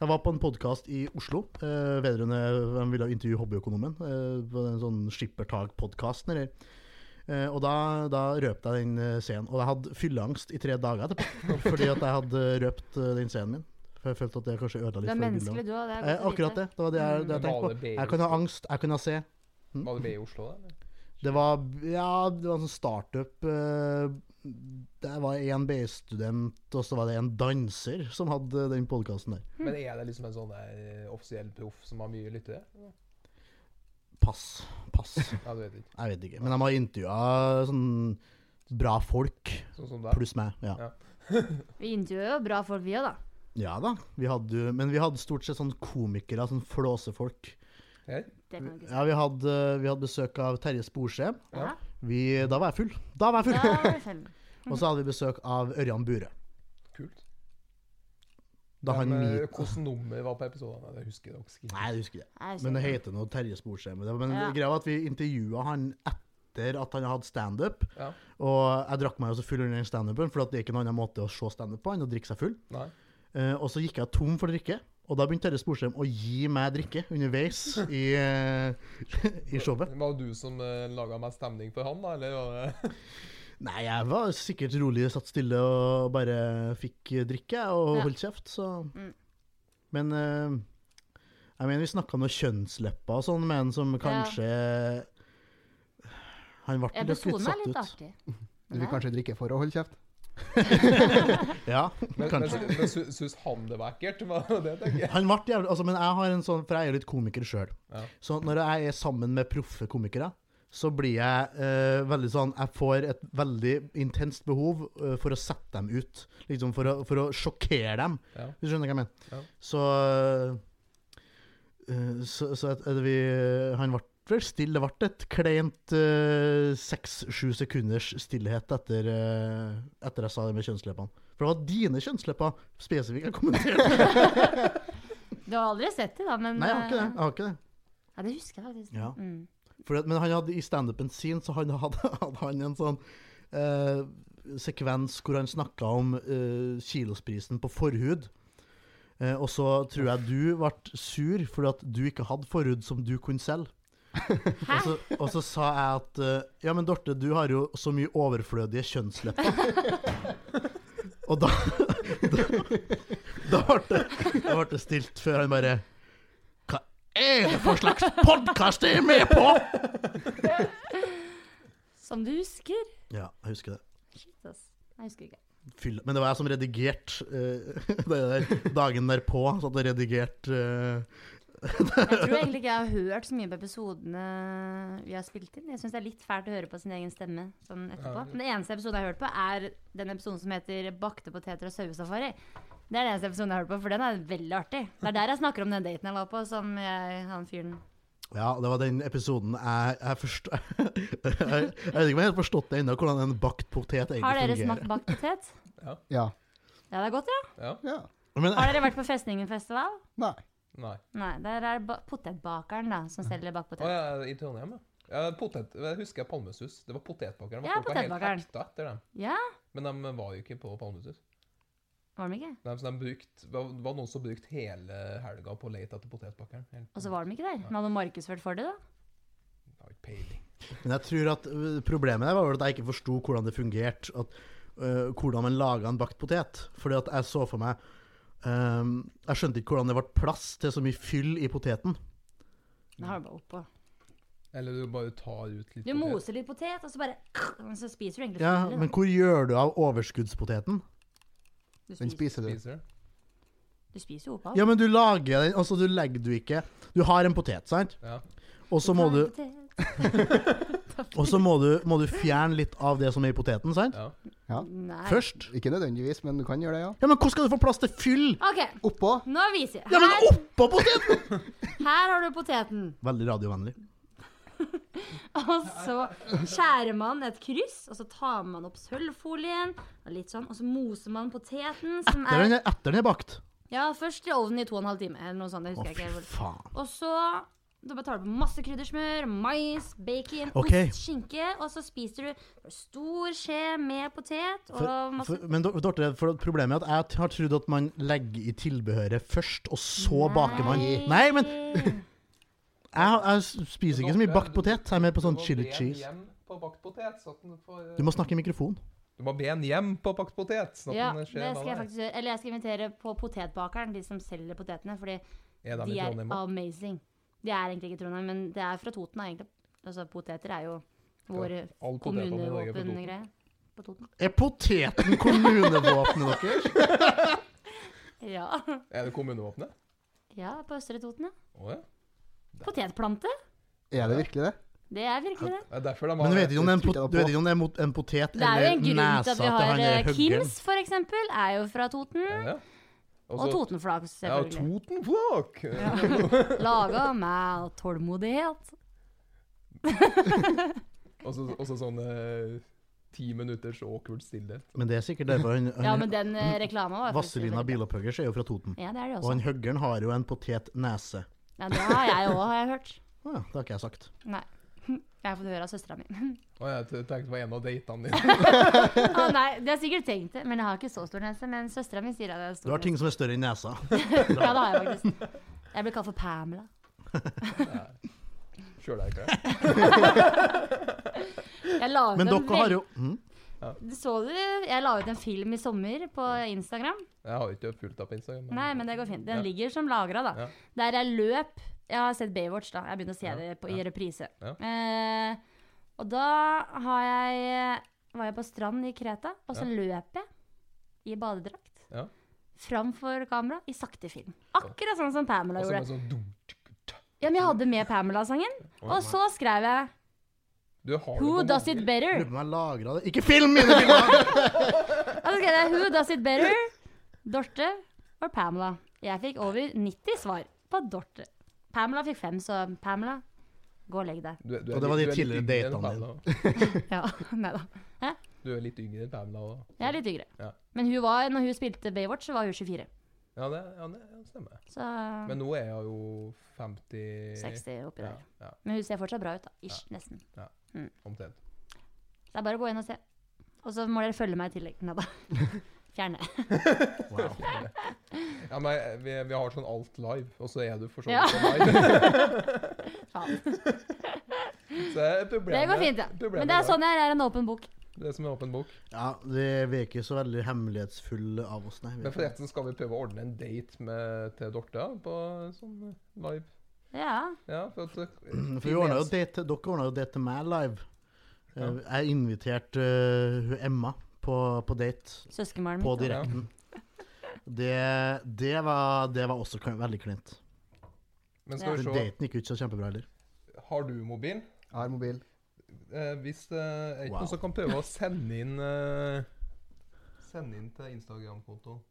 Speaker 2: Jeg var på en podkast i Oslo eh, vedrørende De ville intervjue hobbyøkonomen. Eh, på en sånn skippertak-podkast. nedi. Eh, og da, da røpte jeg den eh, C-en. Og jeg hadde fylleangst i tre dager etterpå fordi at jeg hadde røpt eh, den C-en min. For jeg følte at det kanskje ødela
Speaker 3: Du
Speaker 2: litt
Speaker 3: er
Speaker 2: for bildet.
Speaker 3: menneskelig, du òg. Det
Speaker 2: Eh,
Speaker 3: er godt å
Speaker 2: akkurat
Speaker 3: vite.
Speaker 2: det. Det var det jeg, det jeg tenkte
Speaker 1: Var det
Speaker 2: på.
Speaker 1: B i
Speaker 2: Jeg kan ha angst, jeg kan ha C. Mm.
Speaker 1: Var det B i Oslo, da? eller?
Speaker 2: Det var, ja, det var en sånn startup eh, Det var en BI-student, og så var det en danser som hadde den podkasten der.
Speaker 1: Men er det liksom en sånn der eh, offisiell proff som har mye lyttere?
Speaker 2: Pass. Pass.
Speaker 1: Ja, du vet ikke.
Speaker 2: Jeg vet ikke. Men de har intervjua sånn bra folk,
Speaker 1: Sånn som deg.
Speaker 2: pluss meg. Ja.
Speaker 1: Ja.
Speaker 3: Vi intervjuer jo bra folk, vi òg, da.
Speaker 2: ja da. Vi hadde, jo- men vi hadde stort sett sånn komikere, sånn flåsefolk.
Speaker 1: Her.
Speaker 3: Det kan du ikke si.
Speaker 2: Ja, vi hadde, vi hadde besøk av Terje Sporsem.
Speaker 1: Ja.
Speaker 3: Ja.
Speaker 2: Vi, da var jeg full. Da var jeg
Speaker 3: Da
Speaker 2: full!
Speaker 3: var det fem.
Speaker 2: Og så hadde vi besøk av Ørjan Bure.
Speaker 1: Kult.
Speaker 2: Da han
Speaker 1: Men, eh,
Speaker 2: mit...
Speaker 1: Hvilket nummer var på episoden? Nei, det husker jeg faktisk ikke.
Speaker 2: Nei, jeg husker det.
Speaker 3: Jeg
Speaker 2: Men det
Speaker 3: husker ikke.
Speaker 2: heter noe Terje Sporsem. Men det- Men
Speaker 3: sånn, Ja.
Speaker 2: greia var at vi intervjua han etter at han hadde standup.
Speaker 1: Ja.
Speaker 2: Og jeg drakk meg jo så full under den standupen, for at det er ikke noen annen måte å se standup på enn å drikke seg full.
Speaker 1: Nei.
Speaker 2: Eh, og så gikk jeg tom for drikke. Og da begynte Terje Sporsem å gi meg drikke underveis i, eh, i showet.
Speaker 1: Var det du som uh, laga meg stemning for han, da? Eller var det
Speaker 2: Nei, jeg var sikkert rolig, satt stille og bare fikk drikke og
Speaker 3: Ja.
Speaker 2: holdt kjeft, så
Speaker 3: Mm.
Speaker 2: Men eh, jeg mener, vi snakka om noe kjønnslepper og sånn, men som kanskje Han ble litt,
Speaker 3: Episoden er
Speaker 2: satt
Speaker 3: litt
Speaker 2: ut.
Speaker 3: artig.
Speaker 4: Du vil kanskje drikke for å holde kjeft?
Speaker 2: Ja,
Speaker 1: Men, men,
Speaker 2: kanskje.
Speaker 1: men sy- syns han det var ekkelt? Var det det, tenker jeg.
Speaker 2: Han ble jævlig, altså, men jeg har en sånn, for jeg er jo litt komiker sjøl.
Speaker 1: Ja.
Speaker 2: Så når jeg er sammen med proffe komikere, så blir jeg eh, veldig sånn Jeg får et veldig intenst behov eh, for å sette dem ut. Liksom for å, for å sjokkere dem.
Speaker 1: Ja.
Speaker 2: Hvis du skjønner hva jeg mener.
Speaker 1: Ja.
Speaker 2: Så, eh, så, så at, at vi, han ble vel stille. Det ble et kleint seks-sju sekunders stillhet etter, eh, etter jeg sa det med kjønnsleppene. For det var dine kjønnslepper spesifikt jeg kommenterte.
Speaker 3: Du har aldri sett det, da, men
Speaker 2: Nei, jeg har ikke det.
Speaker 3: eh,
Speaker 2: Jeg har ikke det.
Speaker 3: Ja, det husker jeg faktisk.
Speaker 2: Ja.
Speaker 3: Mm.
Speaker 2: For, at- men han hadde i standupen sin så han hadde, hadde han en sånn eh, sekvens hvor han snakka om eh, kilosprisen på forhud. Eh, og så tror jeg du ble sur fordi at du ikke hadde forhud som du kunne selge. Og så, og så sa jeg at eh, Ja, men Dorte, du har jo så mye overflødige kjønnslepper. og da Da, da, ble, det, da ble det stilt før han bare Hva er det for slags podkast jeg er med på?!
Speaker 3: Som du husker.
Speaker 2: Ja, jeg husker det.
Speaker 3: Shit, ass. Jeg husker ikke.
Speaker 2: Fyll. Men det var jeg som redigerte eh, det der dagen derpå. Satt og redigerte eh,
Speaker 3: Jeg tror egentlig ikke jeg har hørt så mye på episodene vi har spilt inn. Jeg syns det er litt fælt å høre på sin egen stemme sånn etterpå.
Speaker 1: Ja.
Speaker 3: Men den eneste episoden jeg har hørt på, er den episoden som heter 'Bakte poteter og sauesafari'. Det er den eneste episoden jeg har hørt på, for den er veldig artig. Det er der jeg snakker om den daten jeg var på, som jeg, han fyren
Speaker 2: Ja, det var den episoden jeg Jeg, forstå, jeg, jeg vet ikke om jeg har forstått det ennå, hvordan en bakt potet egentlig
Speaker 3: Har dere
Speaker 2: fungerer.
Speaker 3: smakt bakt potet?
Speaker 4: Ja.
Speaker 3: Ja, det er godt, ja.
Speaker 1: Ja.
Speaker 4: ja.
Speaker 2: Men
Speaker 3: Har dere vært på Festningenfestival?
Speaker 4: Nei.
Speaker 1: Nei.
Speaker 3: Nei, der er ba potetbakeren da, som selger bakt
Speaker 1: Å,
Speaker 3: potet.
Speaker 1: ja, i Trondheim, ja. ja potet, jeg husker Palmesus. Det var potetbakeren.
Speaker 3: Ja,
Speaker 1: Folk var helt
Speaker 3: potetbakeren.
Speaker 1: hekta etter dem.
Speaker 3: Ja,
Speaker 1: Men de var jo ikke på Palmesus.
Speaker 3: var de ikke?
Speaker 1: De, så de brukte- det var noen som brukte hele helga på å lete etter potetbakeren. Helt-
Speaker 3: Og så Altså, var de ikke der. Men hadde de markedsført for det, da?
Speaker 1: Jeg har ikke peiling.
Speaker 2: Men jeg tror at øh, problemet der var vel at jeg ikke forsto hvordan det fungerte. At, øh, hvordan man laga en bakt potet. Fordi at jeg så for meg øhm, Jeg skjønte ikke hvordan det ble plass til så mye fyll i poteten.
Speaker 3: Det har de bare oppå.
Speaker 1: Eller du bare tar ut litt
Speaker 3: Du moser litt potet, og så bare Så spiser du egentlig
Speaker 2: Ja,
Speaker 3: full, da.
Speaker 2: Men hvor gjør du av overskuddspoteten?
Speaker 3: Du
Speaker 4: Den
Speaker 3: spiser,
Speaker 4: spiser du.
Speaker 1: Spiser det.
Speaker 3: du spiser jo opp alt.
Speaker 2: Ja, men du lager den Altså, du legger du ikke Du har en potet, sant?
Speaker 1: Ja.
Speaker 2: Og så må du,
Speaker 3: Potet.
Speaker 2: og så må du, må du fjerne litt av det som er i poteten, sant?
Speaker 1: ja.
Speaker 3: Nei.
Speaker 2: Først.
Speaker 4: Ikke nødvendigvis, men du kan gjøre det, ja.
Speaker 2: Ja, men hvordan skal du få plass til fyll?
Speaker 3: OK,
Speaker 4: Oppå.
Speaker 3: nå viser jeg.
Speaker 2: Ja, men
Speaker 3: Her,
Speaker 2: oppå poteten!
Speaker 3: her har du poteten.
Speaker 2: Veldig radiovennlig.
Speaker 3: Og så skjærer man et kryss, og så tar man opp sølvfolien, og litt sånn, og så moser man poteten, som
Speaker 2: Etter den
Speaker 3: er
Speaker 2: er, etter den er bakt.
Speaker 3: Ja, først i ovnen i to og en halv time, eller noe sånt. Det
Speaker 2: Å,
Speaker 3: husker jeg
Speaker 2: fy
Speaker 3: ikke. helt.
Speaker 2: faen.
Speaker 3: Og så da bare tar du på masse kryddersmør, mais, bacon,
Speaker 2: Ok.
Speaker 3: ost, skinke. Og så spiser du stor skje med potet og
Speaker 2: For,
Speaker 3: masse
Speaker 2: for, men Dor- Dorte, for problemet er at jeg har trodd at man legger i tilbehøret først, og så baker man. Nei, men jeg, jeg spiser ikke så mye bakt potet. Jeg er mer på sånn
Speaker 1: Du må
Speaker 2: chili
Speaker 1: be en
Speaker 2: cheese.
Speaker 1: hjem på bakt potet, så at den får
Speaker 2: Du må snakke i mikrofon.
Speaker 1: Du må be en hjem på bakt potet. Sånn at
Speaker 3: Ja,
Speaker 1: den
Speaker 3: det
Speaker 1: skjer
Speaker 3: skal jeg
Speaker 1: hva det
Speaker 3: faktisk gjøre. Eller jeg skal invitere på Potetbakeren, de som selger potetene. Fordi
Speaker 1: er. Er de
Speaker 3: de
Speaker 1: i
Speaker 3: er
Speaker 1: Trondheim også?
Speaker 3: amazing. De er egentlig ikke i Trondheim, men det er fra Toten, da, egentlig. Altså, poteter er jo vår
Speaker 1: Ja, all potet på Norge er fra Toten.
Speaker 3: kommunevåpengreie. På Toten?
Speaker 2: Er poteten kommunevåpenet deres?
Speaker 3: Ja.
Speaker 1: Er det kommunevåpenet?
Speaker 3: ja, på Østre Toten, ja.
Speaker 1: Å ja.
Speaker 3: Potetplante?
Speaker 4: Er det virkelig det?
Speaker 3: Det er virkelig det.
Speaker 1: Det er derfor de
Speaker 2: Men du
Speaker 1: har
Speaker 2: vet ikke om det er en,
Speaker 4: Det tviler
Speaker 2: pot
Speaker 4: jeg på.
Speaker 2: du vet ikke om det er mot- en potet
Speaker 3: Det er jo
Speaker 2: eller
Speaker 3: en grunn til
Speaker 2: nesa
Speaker 3: at
Speaker 2: til
Speaker 3: vi
Speaker 2: han
Speaker 3: har
Speaker 2: der
Speaker 3: eh,
Speaker 2: huggeren.
Speaker 3: Kims, for eksempel, er jo fra Toten.
Speaker 1: Ja, ja.
Speaker 3: Og
Speaker 1: så-
Speaker 3: Totenflak,
Speaker 1: Ja,
Speaker 3: selvfølgelig.
Speaker 1: Totenflak!
Speaker 3: Laga med tålmodighet.
Speaker 1: Og så- og så sånn eh, ti minutters awkward stillhet.
Speaker 2: Men det er sikkert derfor han,
Speaker 3: Ja,
Speaker 2: han
Speaker 3: men den eh, reklama var faktisk-
Speaker 2: Vazelina Bilopphøggers er jo fra Toten.
Speaker 3: Ja, altså. det er det
Speaker 2: Og
Speaker 3: også.
Speaker 2: han huggeren har jo en potetnese.
Speaker 3: Ja, det har jeg òg, har jeg hørt.
Speaker 2: Å ja, det har ikke jeg sagt.
Speaker 3: Nei. Jeg har fått høre av søstera mi.
Speaker 1: Og jeg t- tenkte det var en av datene dine.
Speaker 3: Å nei, De har sikkert tenkt det, men jeg har ikke så stor nese. Men søstera mi sier at jeg har
Speaker 2: Du
Speaker 3: stor
Speaker 2: har ting som er større enn nesa.
Speaker 3: nese. Ja, det har jeg faktisk. Jeg blir kalt for Pamela.
Speaker 1: Sjøl er jeg ikke det.
Speaker 3: Jeg la ut
Speaker 2: Men
Speaker 3: en
Speaker 2: dere har
Speaker 3: vel-
Speaker 2: jo hm?
Speaker 3: Så du? Jeg la ut en film i sommer på Instagram.
Speaker 1: Jeg har ikke fulgt deg på Instagram.
Speaker 3: Nei, men det går fint. Den
Speaker 1: Ja.
Speaker 3: ligger som lagra, da.
Speaker 1: Ja.
Speaker 3: Der jeg løp Jeg har sett Baywatch, da. Jeg begynte å se
Speaker 1: Ja,
Speaker 3: det på,
Speaker 1: ja.
Speaker 3: i reprise.
Speaker 1: Ja.
Speaker 3: Eh, og da har jeg, var jeg på strand i Kreta, og så løp jeg i badedrakt.
Speaker 1: Ja.
Speaker 3: Framfor kamera i sakte film. Akkurat sånn som Pamela
Speaker 1: Og så
Speaker 3: gjorde.
Speaker 1: med sånn dum, tuk, tuk.
Speaker 3: Ja, men Jeg hadde med Pamela-sangen. Og så skrev jeg
Speaker 1: Du har det på
Speaker 3: Who does it
Speaker 1: mobil.
Speaker 3: better?
Speaker 2: Lurer på om jeg lagra det Ikke film mine bilder!
Speaker 3: Og så skrev jeg Who does it better? Dorte or Pamela? Jeg fikk over 90 svar på Dorte. Pamela fikk fem, så Pamela, gå og legg deg.
Speaker 1: Du, du er
Speaker 2: Og det var
Speaker 1: litt-
Speaker 2: de
Speaker 1: du er litt
Speaker 2: tidligere
Speaker 1: yngre enn
Speaker 2: datene
Speaker 1: Pamela.
Speaker 3: Ja, nei da.
Speaker 1: Du er litt yngre enn Pamela òg.
Speaker 3: Jeg er litt yngre.
Speaker 1: Ja.
Speaker 3: Men hun var, når hun spilte Baywatch, så var hun 24.
Speaker 1: Ja, det, ja, det stemmer.
Speaker 3: Så
Speaker 1: Men nå er jeg jo 50
Speaker 3: 60 oppi
Speaker 1: Ja,
Speaker 3: der.
Speaker 1: ja,
Speaker 3: Men hun ser fortsatt bra ut, da. Ish, nesten.
Speaker 1: omtrent.
Speaker 3: Så det er bare å gå inn og se. Og så må dere følge meg i tillegg. Nei da. Fjerne.
Speaker 2: Wow.
Speaker 1: Ja, men jeg- vi, vi har sånn alt live, og så er du for så
Speaker 3: Ja.
Speaker 1: vidt live.
Speaker 3: Faen.
Speaker 1: Så det er problemet.
Speaker 3: Det går fint, ja.
Speaker 1: problemet
Speaker 3: Men det er
Speaker 1: der.
Speaker 3: sånn jeg er, er en åpen bok.
Speaker 1: Det er som en åpen bok.
Speaker 2: Ja, det, vi er ikke så veldig hemmelighetsfulle av oss, nei. vi er
Speaker 1: Men
Speaker 2: ikke det.
Speaker 1: forresten skal vi prøve å ordne en date med, til Dorte ja, på sånn eh, live.
Speaker 3: Ja.
Speaker 1: Ja, for at eh,
Speaker 2: Mm, For vi ordnet jo det til, dere ordna jo det til meg live. Eh, Jeg inviterte eh, hun Emma på, på date
Speaker 3: Søskenbarnet
Speaker 2: på
Speaker 3: mitt. da.
Speaker 2: direkten. Det, det, var, det var også kl- veldig kleint.
Speaker 1: Men skal
Speaker 2: Den
Speaker 1: vi se,
Speaker 2: daten gikk jo ikke så kjempebra heller.
Speaker 1: har du mobil?
Speaker 4: Jeg har mobil.
Speaker 1: Eh, hvis det er ikke
Speaker 2: Wow.
Speaker 1: noen som kan prøve å sende inn eh, Sende inn til Instagram-kontoen.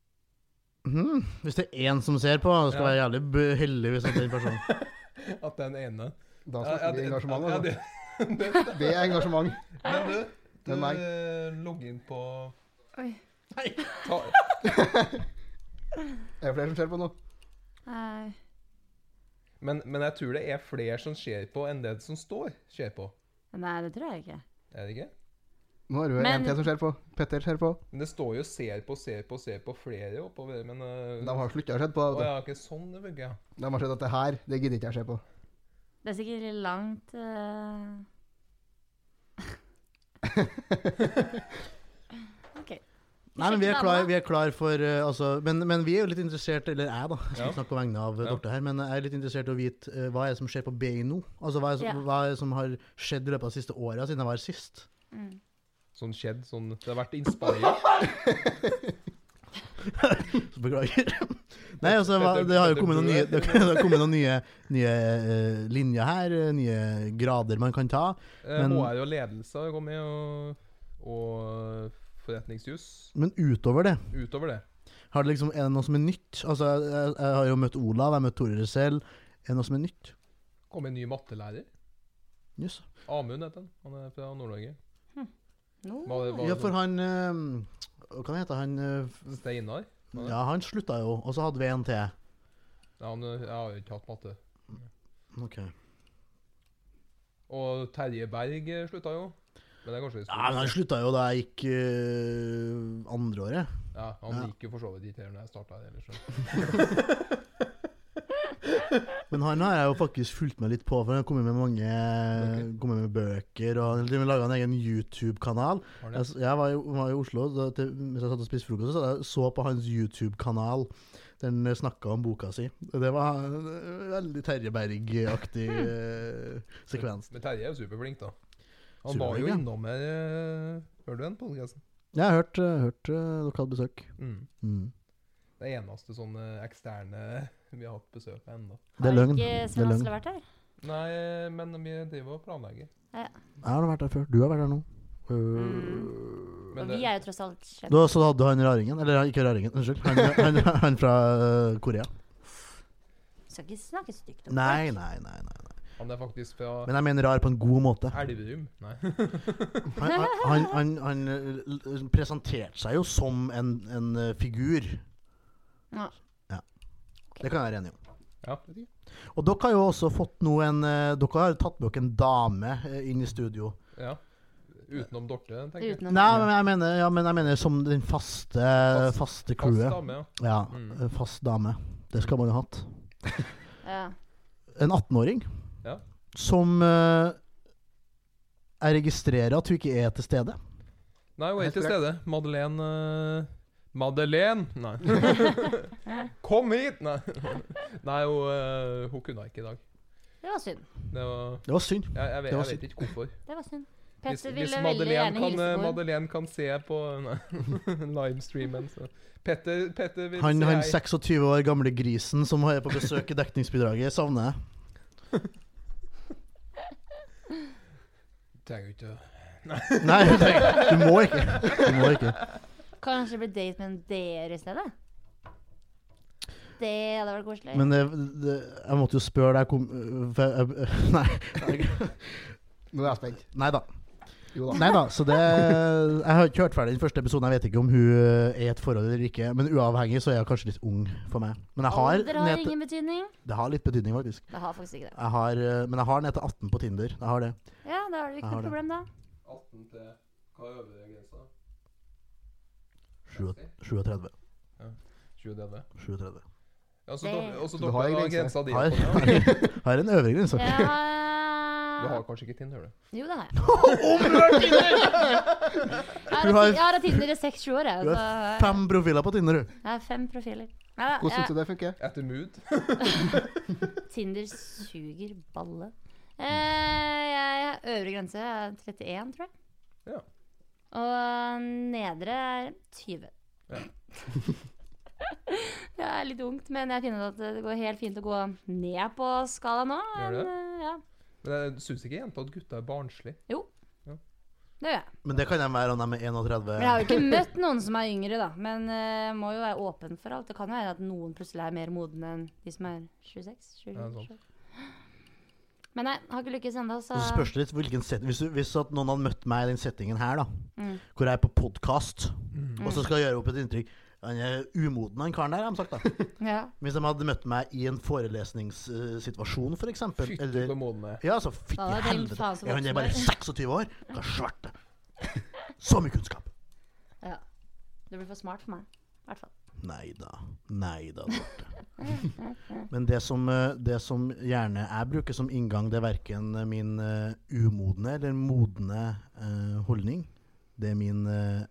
Speaker 2: Mhm. Hvis det er én som ser på, det skal
Speaker 1: Ja.
Speaker 2: være jævlig b- heldig hvis det er en person.
Speaker 1: At den ene
Speaker 4: Da snakker vi engasjement.
Speaker 1: ja,
Speaker 4: Altså.
Speaker 1: det, det,
Speaker 4: Det er engasjement.
Speaker 1: Men du, du
Speaker 4: Men meg.
Speaker 1: eh, logg inn på
Speaker 3: Oi.
Speaker 1: Ta,
Speaker 4: Er det flere som ser på nå?
Speaker 3: Nei.
Speaker 1: men, men jeg tror det er flere som ser på, enn det som står ser på.
Speaker 3: Nei, det tror jeg ikke.
Speaker 1: Er det ikke?
Speaker 4: Nå er det jo
Speaker 3: Men-
Speaker 4: en til som ser på. Petter ser på.
Speaker 1: Men det står jo 'ser på, ser på, ser på' flere oppover, men eh,
Speaker 4: De har slutta å se på.
Speaker 1: Å
Speaker 4: vet
Speaker 1: ja, ikke sånn det funker, ja.
Speaker 4: du. De har sett at det her, det gidder ikke jeg se på.
Speaker 3: Det er sikkert litt langt eh. OK.
Speaker 2: Nei, men vi er
Speaker 3: Sjekk
Speaker 2: klar,
Speaker 3: dama.
Speaker 2: vi er klar for eh, altså, men, men vi er jo litt interessert Eller jeg, da. Jeg skal
Speaker 1: Ja.
Speaker 2: ikke snakke på vegne av eh,
Speaker 1: Ja.
Speaker 2: Dorte her. Men jeg er litt interessert i å vite eh, hva er det som skjer på BI nå? Altså, hva er, det som,
Speaker 3: Ja.
Speaker 2: hva er det som har skjedd i løpet av de siste åra siden jeg var her sist?
Speaker 3: Mm.
Speaker 1: Sånn skjedd, sånn Det har vært inspired.
Speaker 2: Så beklager. Nei, altså, hva,
Speaker 1: Petter-
Speaker 2: det har jo
Speaker 1: Petter
Speaker 2: kommet noen nye,
Speaker 1: Bøe.
Speaker 2: det har kommet noen nye, nye eh, linjer her. eh, Nye grader man kan ta.
Speaker 1: Eh,
Speaker 2: Men-
Speaker 1: HR og ledelse har kommet, og, og forretningsjus
Speaker 2: Men utover det
Speaker 1: utover det.
Speaker 2: Har det liksom, er det noe som er nytt? Altså, jeg, jeg- jeg har jo møtt Olav, jeg har møtt Tore Resell. Er det noe som er nytt?
Speaker 1: Kom en ny mattelærer.
Speaker 2: Jøss.
Speaker 1: Amund heter han. Han er fra Nord-Norge.
Speaker 3: Nå.
Speaker 1: Var det- var
Speaker 2: Ja,
Speaker 1: det
Speaker 2: for han eh, Hva heter han? eh,
Speaker 1: sånn Steinar? Var det?
Speaker 2: Ja, han slutta jo, og så hadde vi en til.
Speaker 1: Ja, han, jeg har jo ikke hatt matte.
Speaker 2: Ok.
Speaker 1: Og Terje Berg eh, slutta jo. Men det er kanskje vi
Speaker 2: Ja, men
Speaker 1: skulle
Speaker 2: han slutta jo da jeg gikk eh, andre året.
Speaker 1: ja, Han
Speaker 2: Ja.
Speaker 1: gikk jo for så vidt ikke her når jeg starta her ellers. så.
Speaker 2: Men han har jeg jo faktisk fulgt med litt på, for han har kommet med mange kommet med bøker. Og han har laga en egen YouTube-kanal.
Speaker 1: Har han
Speaker 2: Jeg,
Speaker 1: det?
Speaker 2: jeg var, i, var i Oslo, da, til, mens jeg satt og spiste frokost, så jeg så på hans YouTube-kanal. Den snakka om boka si. Det var en veldig Terje Berg-aktig eh, sekvens.
Speaker 1: Men Terje er jo superflink, da. Han
Speaker 2: Superflink,
Speaker 1: var jo
Speaker 2: ja.
Speaker 1: innom her eh, Hører du den podkasten?
Speaker 2: Jeg har hørt, eh, hørt eh, dere hadde besøk.
Speaker 1: Mm.
Speaker 2: Mm.
Speaker 1: Det eneste sånne eksterne vi har hatt besøk av ennå.
Speaker 2: Det er løgn.
Speaker 3: Har ikke
Speaker 2: Det er
Speaker 3: Sven
Speaker 2: løgn.
Speaker 3: Asle vært her?
Speaker 1: Nei, men vi driver og planlegger.
Speaker 2: Jeg har vært der før. Du har vært der nå. Øh,
Speaker 1: Men
Speaker 3: Og
Speaker 1: det-
Speaker 3: vi er jo tross alt slemme.
Speaker 2: Eh, da, så da hadde du han raringen, eller han- ikke raringen, unnskyld. Han, han, han fra øh, Korea.
Speaker 3: Skal ikke snakke stygt om
Speaker 2: Nei, nei, nei, nei.
Speaker 1: Han er faktisk fra
Speaker 2: Men jeg mener rar på en god måte.
Speaker 1: Elverum. Nei.
Speaker 2: Han, han, han, han, han øh, presenterte seg jo som en, en øh, figur.
Speaker 3: Ja.
Speaker 2: Ja. Det kan jeg være enig i.
Speaker 1: Ja, vet ikke.
Speaker 2: Og dere har jo også fått nå en eh, Dere har tatt med dere en dame eh, inn i studio.
Speaker 1: ja. Utenom Dorte,
Speaker 3: det.
Speaker 1: tenker jeg.
Speaker 3: Utenom
Speaker 2: Nei, men jeg mener, ja, men jeg mener som den faste, faste
Speaker 1: Fast
Speaker 2: crewet.
Speaker 1: dame, ja.
Speaker 2: Ja,
Speaker 1: Mm.
Speaker 2: eh, fast dame. Det skal man jo ha hatt.
Speaker 3: ja.
Speaker 2: En 18-åring
Speaker 1: Ja.
Speaker 2: som eh, Jeg registrerer at hun ikke er til stede.
Speaker 1: Nei, hun er ikke til
Speaker 4: Helt
Speaker 1: stede. Madeleine eh, Madeleine! Nei. Kom hit! Nei, Nei hun, eh, hun kunne ikke i dag.
Speaker 3: Det var synd.
Speaker 1: Det var,
Speaker 2: Det var synd.
Speaker 1: jeg, jeg, vet,
Speaker 2: Det var
Speaker 1: jeg vet ikke hvorfor.
Speaker 3: Det var synd.
Speaker 1: Hvis,
Speaker 3: Petter
Speaker 1: hvis
Speaker 3: ville veldig
Speaker 1: Madeleine,
Speaker 3: gjerne
Speaker 1: kan,
Speaker 3: hilse
Speaker 1: eh,
Speaker 3: på henne.
Speaker 1: Madeleine kan se på nei, livestreamen så. Petter, Petter vil
Speaker 2: Han,
Speaker 1: se
Speaker 2: han
Speaker 1: ei-
Speaker 2: 26 år gamle grisen som er på besøk i dekningsbidraget, savner jeg.
Speaker 1: Trenger jo ikke å-
Speaker 2: Nei, du må ikke. Du må ikke.
Speaker 3: Kanskje bli date med en dere i stedet? Det hadde vært koselig.
Speaker 2: Men det, det, jeg måtte jo spørre deg kom, øh, for jeg, øh, Nei.
Speaker 4: Nå er jeg spent.
Speaker 2: Nei da.
Speaker 4: Jo da.
Speaker 2: Nei da, så det Jeg har ikke hørt ferdig den første episoden. Jeg vet ikke om hun eh, er i et forhold eller ikke. Men uavhengig så er hun kanskje litt ung for meg. Men jeg har,
Speaker 3: Alder har
Speaker 2: ned til,
Speaker 3: ingen betydning.
Speaker 2: det har litt betydning, faktisk.
Speaker 3: Det har faktisk ikke det.
Speaker 2: Jeg har, eh, men jeg har ned til 18 på Tinder. Jeg har det.
Speaker 3: Ja, da har du
Speaker 2: Jeg
Speaker 3: ikke
Speaker 2: har
Speaker 3: noe
Speaker 2: det.
Speaker 3: problem, da.
Speaker 1: 18 til Hva er øvre grensa?
Speaker 2: Sju- 37.
Speaker 1: 37.
Speaker 2: 37.
Speaker 1: Ja, så
Speaker 3: Det-
Speaker 1: dere- og så
Speaker 4: Så du
Speaker 1: dere
Speaker 4: har
Speaker 1: har
Speaker 4: ei grense.
Speaker 1: grensa di.
Speaker 2: Har,
Speaker 1: på det, ja.
Speaker 2: har en liksom. øvre grense.
Speaker 1: Du
Speaker 3: Ja
Speaker 1: har kanskje ikke Tinder, du.
Speaker 3: Jo, det har jeg. Jeg
Speaker 2: Du
Speaker 3: har,
Speaker 2: har-
Speaker 3: jeg har hatt Tinder i seks-sju år, jeg.
Speaker 2: Du
Speaker 3: Så
Speaker 2: har fem profiler på Tinder, du.
Speaker 3: jeg har fem profiler. Nei da.
Speaker 4: Hvordan
Speaker 3: jeg-
Speaker 4: syns du det funker?
Speaker 1: Etter Mood.
Speaker 3: Tinder suger balle. Eh, jeg, øvre grense er 31, tror jeg.
Speaker 1: Ja.
Speaker 3: Og eh, nedre er 20.
Speaker 1: Ja.
Speaker 3: det er litt ungt, men jeg finner ut at det går helt fint å gå ned på skala nå.
Speaker 1: Gjør
Speaker 3: men,
Speaker 1: det?
Speaker 3: eh, ja.
Speaker 1: Men jeg syns ikke jenta at gutta er barnslig.
Speaker 3: det gjør jeg.
Speaker 2: Men det kan de være om de er
Speaker 3: Men jeg
Speaker 2: 31.
Speaker 3: har jo ikke møtt noen som er yngre, da. Men eh, må jo være åpen for alt. Det kan jo være at noen plutselig er mer modne enn de som er 26. 27,
Speaker 1: Ja, sant.
Speaker 3: 27. Men nei, har ikke lykkes ennå, så
Speaker 2: Så spørs det litt hvilken setting Hvis, du, hvis at noen hadde møtt meg i den settingen her, da,
Speaker 3: Mm.
Speaker 2: hvor jeg er på podkast, og så skal jeg gjøre opp et inntrykk Han er umoden, han karen der, har de sagt, da.
Speaker 3: ja.
Speaker 2: Hvis de hadde møtt meg i en forelesningssituasjon, for eksempel
Speaker 1: Fytti
Speaker 2: eller,
Speaker 1: på månene.
Speaker 2: Ja, altså, fytti
Speaker 3: Da hadde jeg tenkt,
Speaker 2: helvete.
Speaker 3: faen, så
Speaker 2: Ja, han er bare
Speaker 3: voksen
Speaker 2: 26 år. Hva svarte? Så mye kunnskap.
Speaker 3: Ja. Du blir for smart for meg. I hvert fall.
Speaker 2: Nei da. Nei da, Dorte. Men det som, eh, det som gjerne jeg bruker som inngang, det er verken min eh, umodne eller modne eh, holdning. Det er min, eh,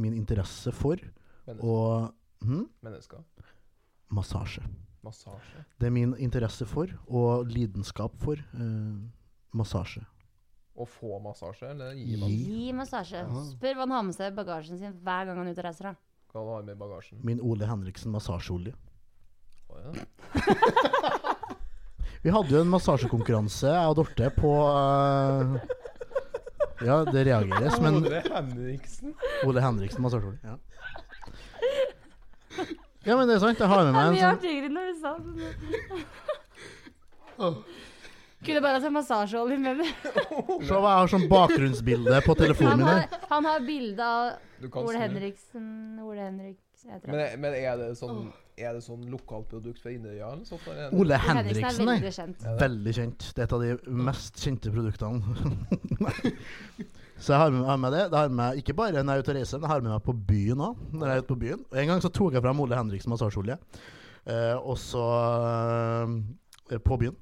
Speaker 2: min interesse for
Speaker 1: Mennesker.
Speaker 2: og hm,
Speaker 1: Mennesker.
Speaker 2: massasje.
Speaker 1: Massasje.
Speaker 2: Det er min interesse for og lidenskap for eh, massasje.
Speaker 1: Å få massasje, eller gi
Speaker 2: Gi.
Speaker 1: massasje?
Speaker 3: Gi massasje.
Speaker 4: Ja.
Speaker 3: Spør hva han har med seg i bagasjen sin hver gang han er ute og reiser. da.
Speaker 1: Hva du har med i bagasjen?
Speaker 2: Min Ole Henriksen massasjeolje.
Speaker 1: Å, ja.
Speaker 2: Vi hadde jo en massasjekonkurranse, jeg og Dorte, på eh, Ja, det reageres, men
Speaker 1: Ole Henriksen.
Speaker 2: Ole Henriksen massasjeolje. Ja. ja, men det er sant. Jeg har med meg en sånn
Speaker 3: artigere når du sa det. Kunne bare hatt en massasjeolje med det.
Speaker 2: sånn- Se hva jeg har som bakgrunnsbilde på telefonen
Speaker 3: Han
Speaker 2: min her.
Speaker 3: har, han har bilde av
Speaker 1: Du kan
Speaker 3: Ole
Speaker 1: snu.
Speaker 3: Henriksen Ole Henriksen, jeg tror
Speaker 1: Men, men er det sånn Er det sånn lokalt produkt fra Inderøya eller sånt? eller?
Speaker 2: Ole
Speaker 3: Ole
Speaker 2: Henriksen,
Speaker 3: Henriksen er
Speaker 2: nei.
Speaker 3: veldig kjent.
Speaker 2: Veldig kjent. Det er et av de mest kjente produktene. Nei. så jeg har med, har med det. Det har med meg ikke bare når jeg er ute og reiser, men jeg har med meg på byen òg. Når jeg er ute på byen. Og en gang så tok jeg fram Ole Henriksen massasjeolje, eh, og så eh, På byen.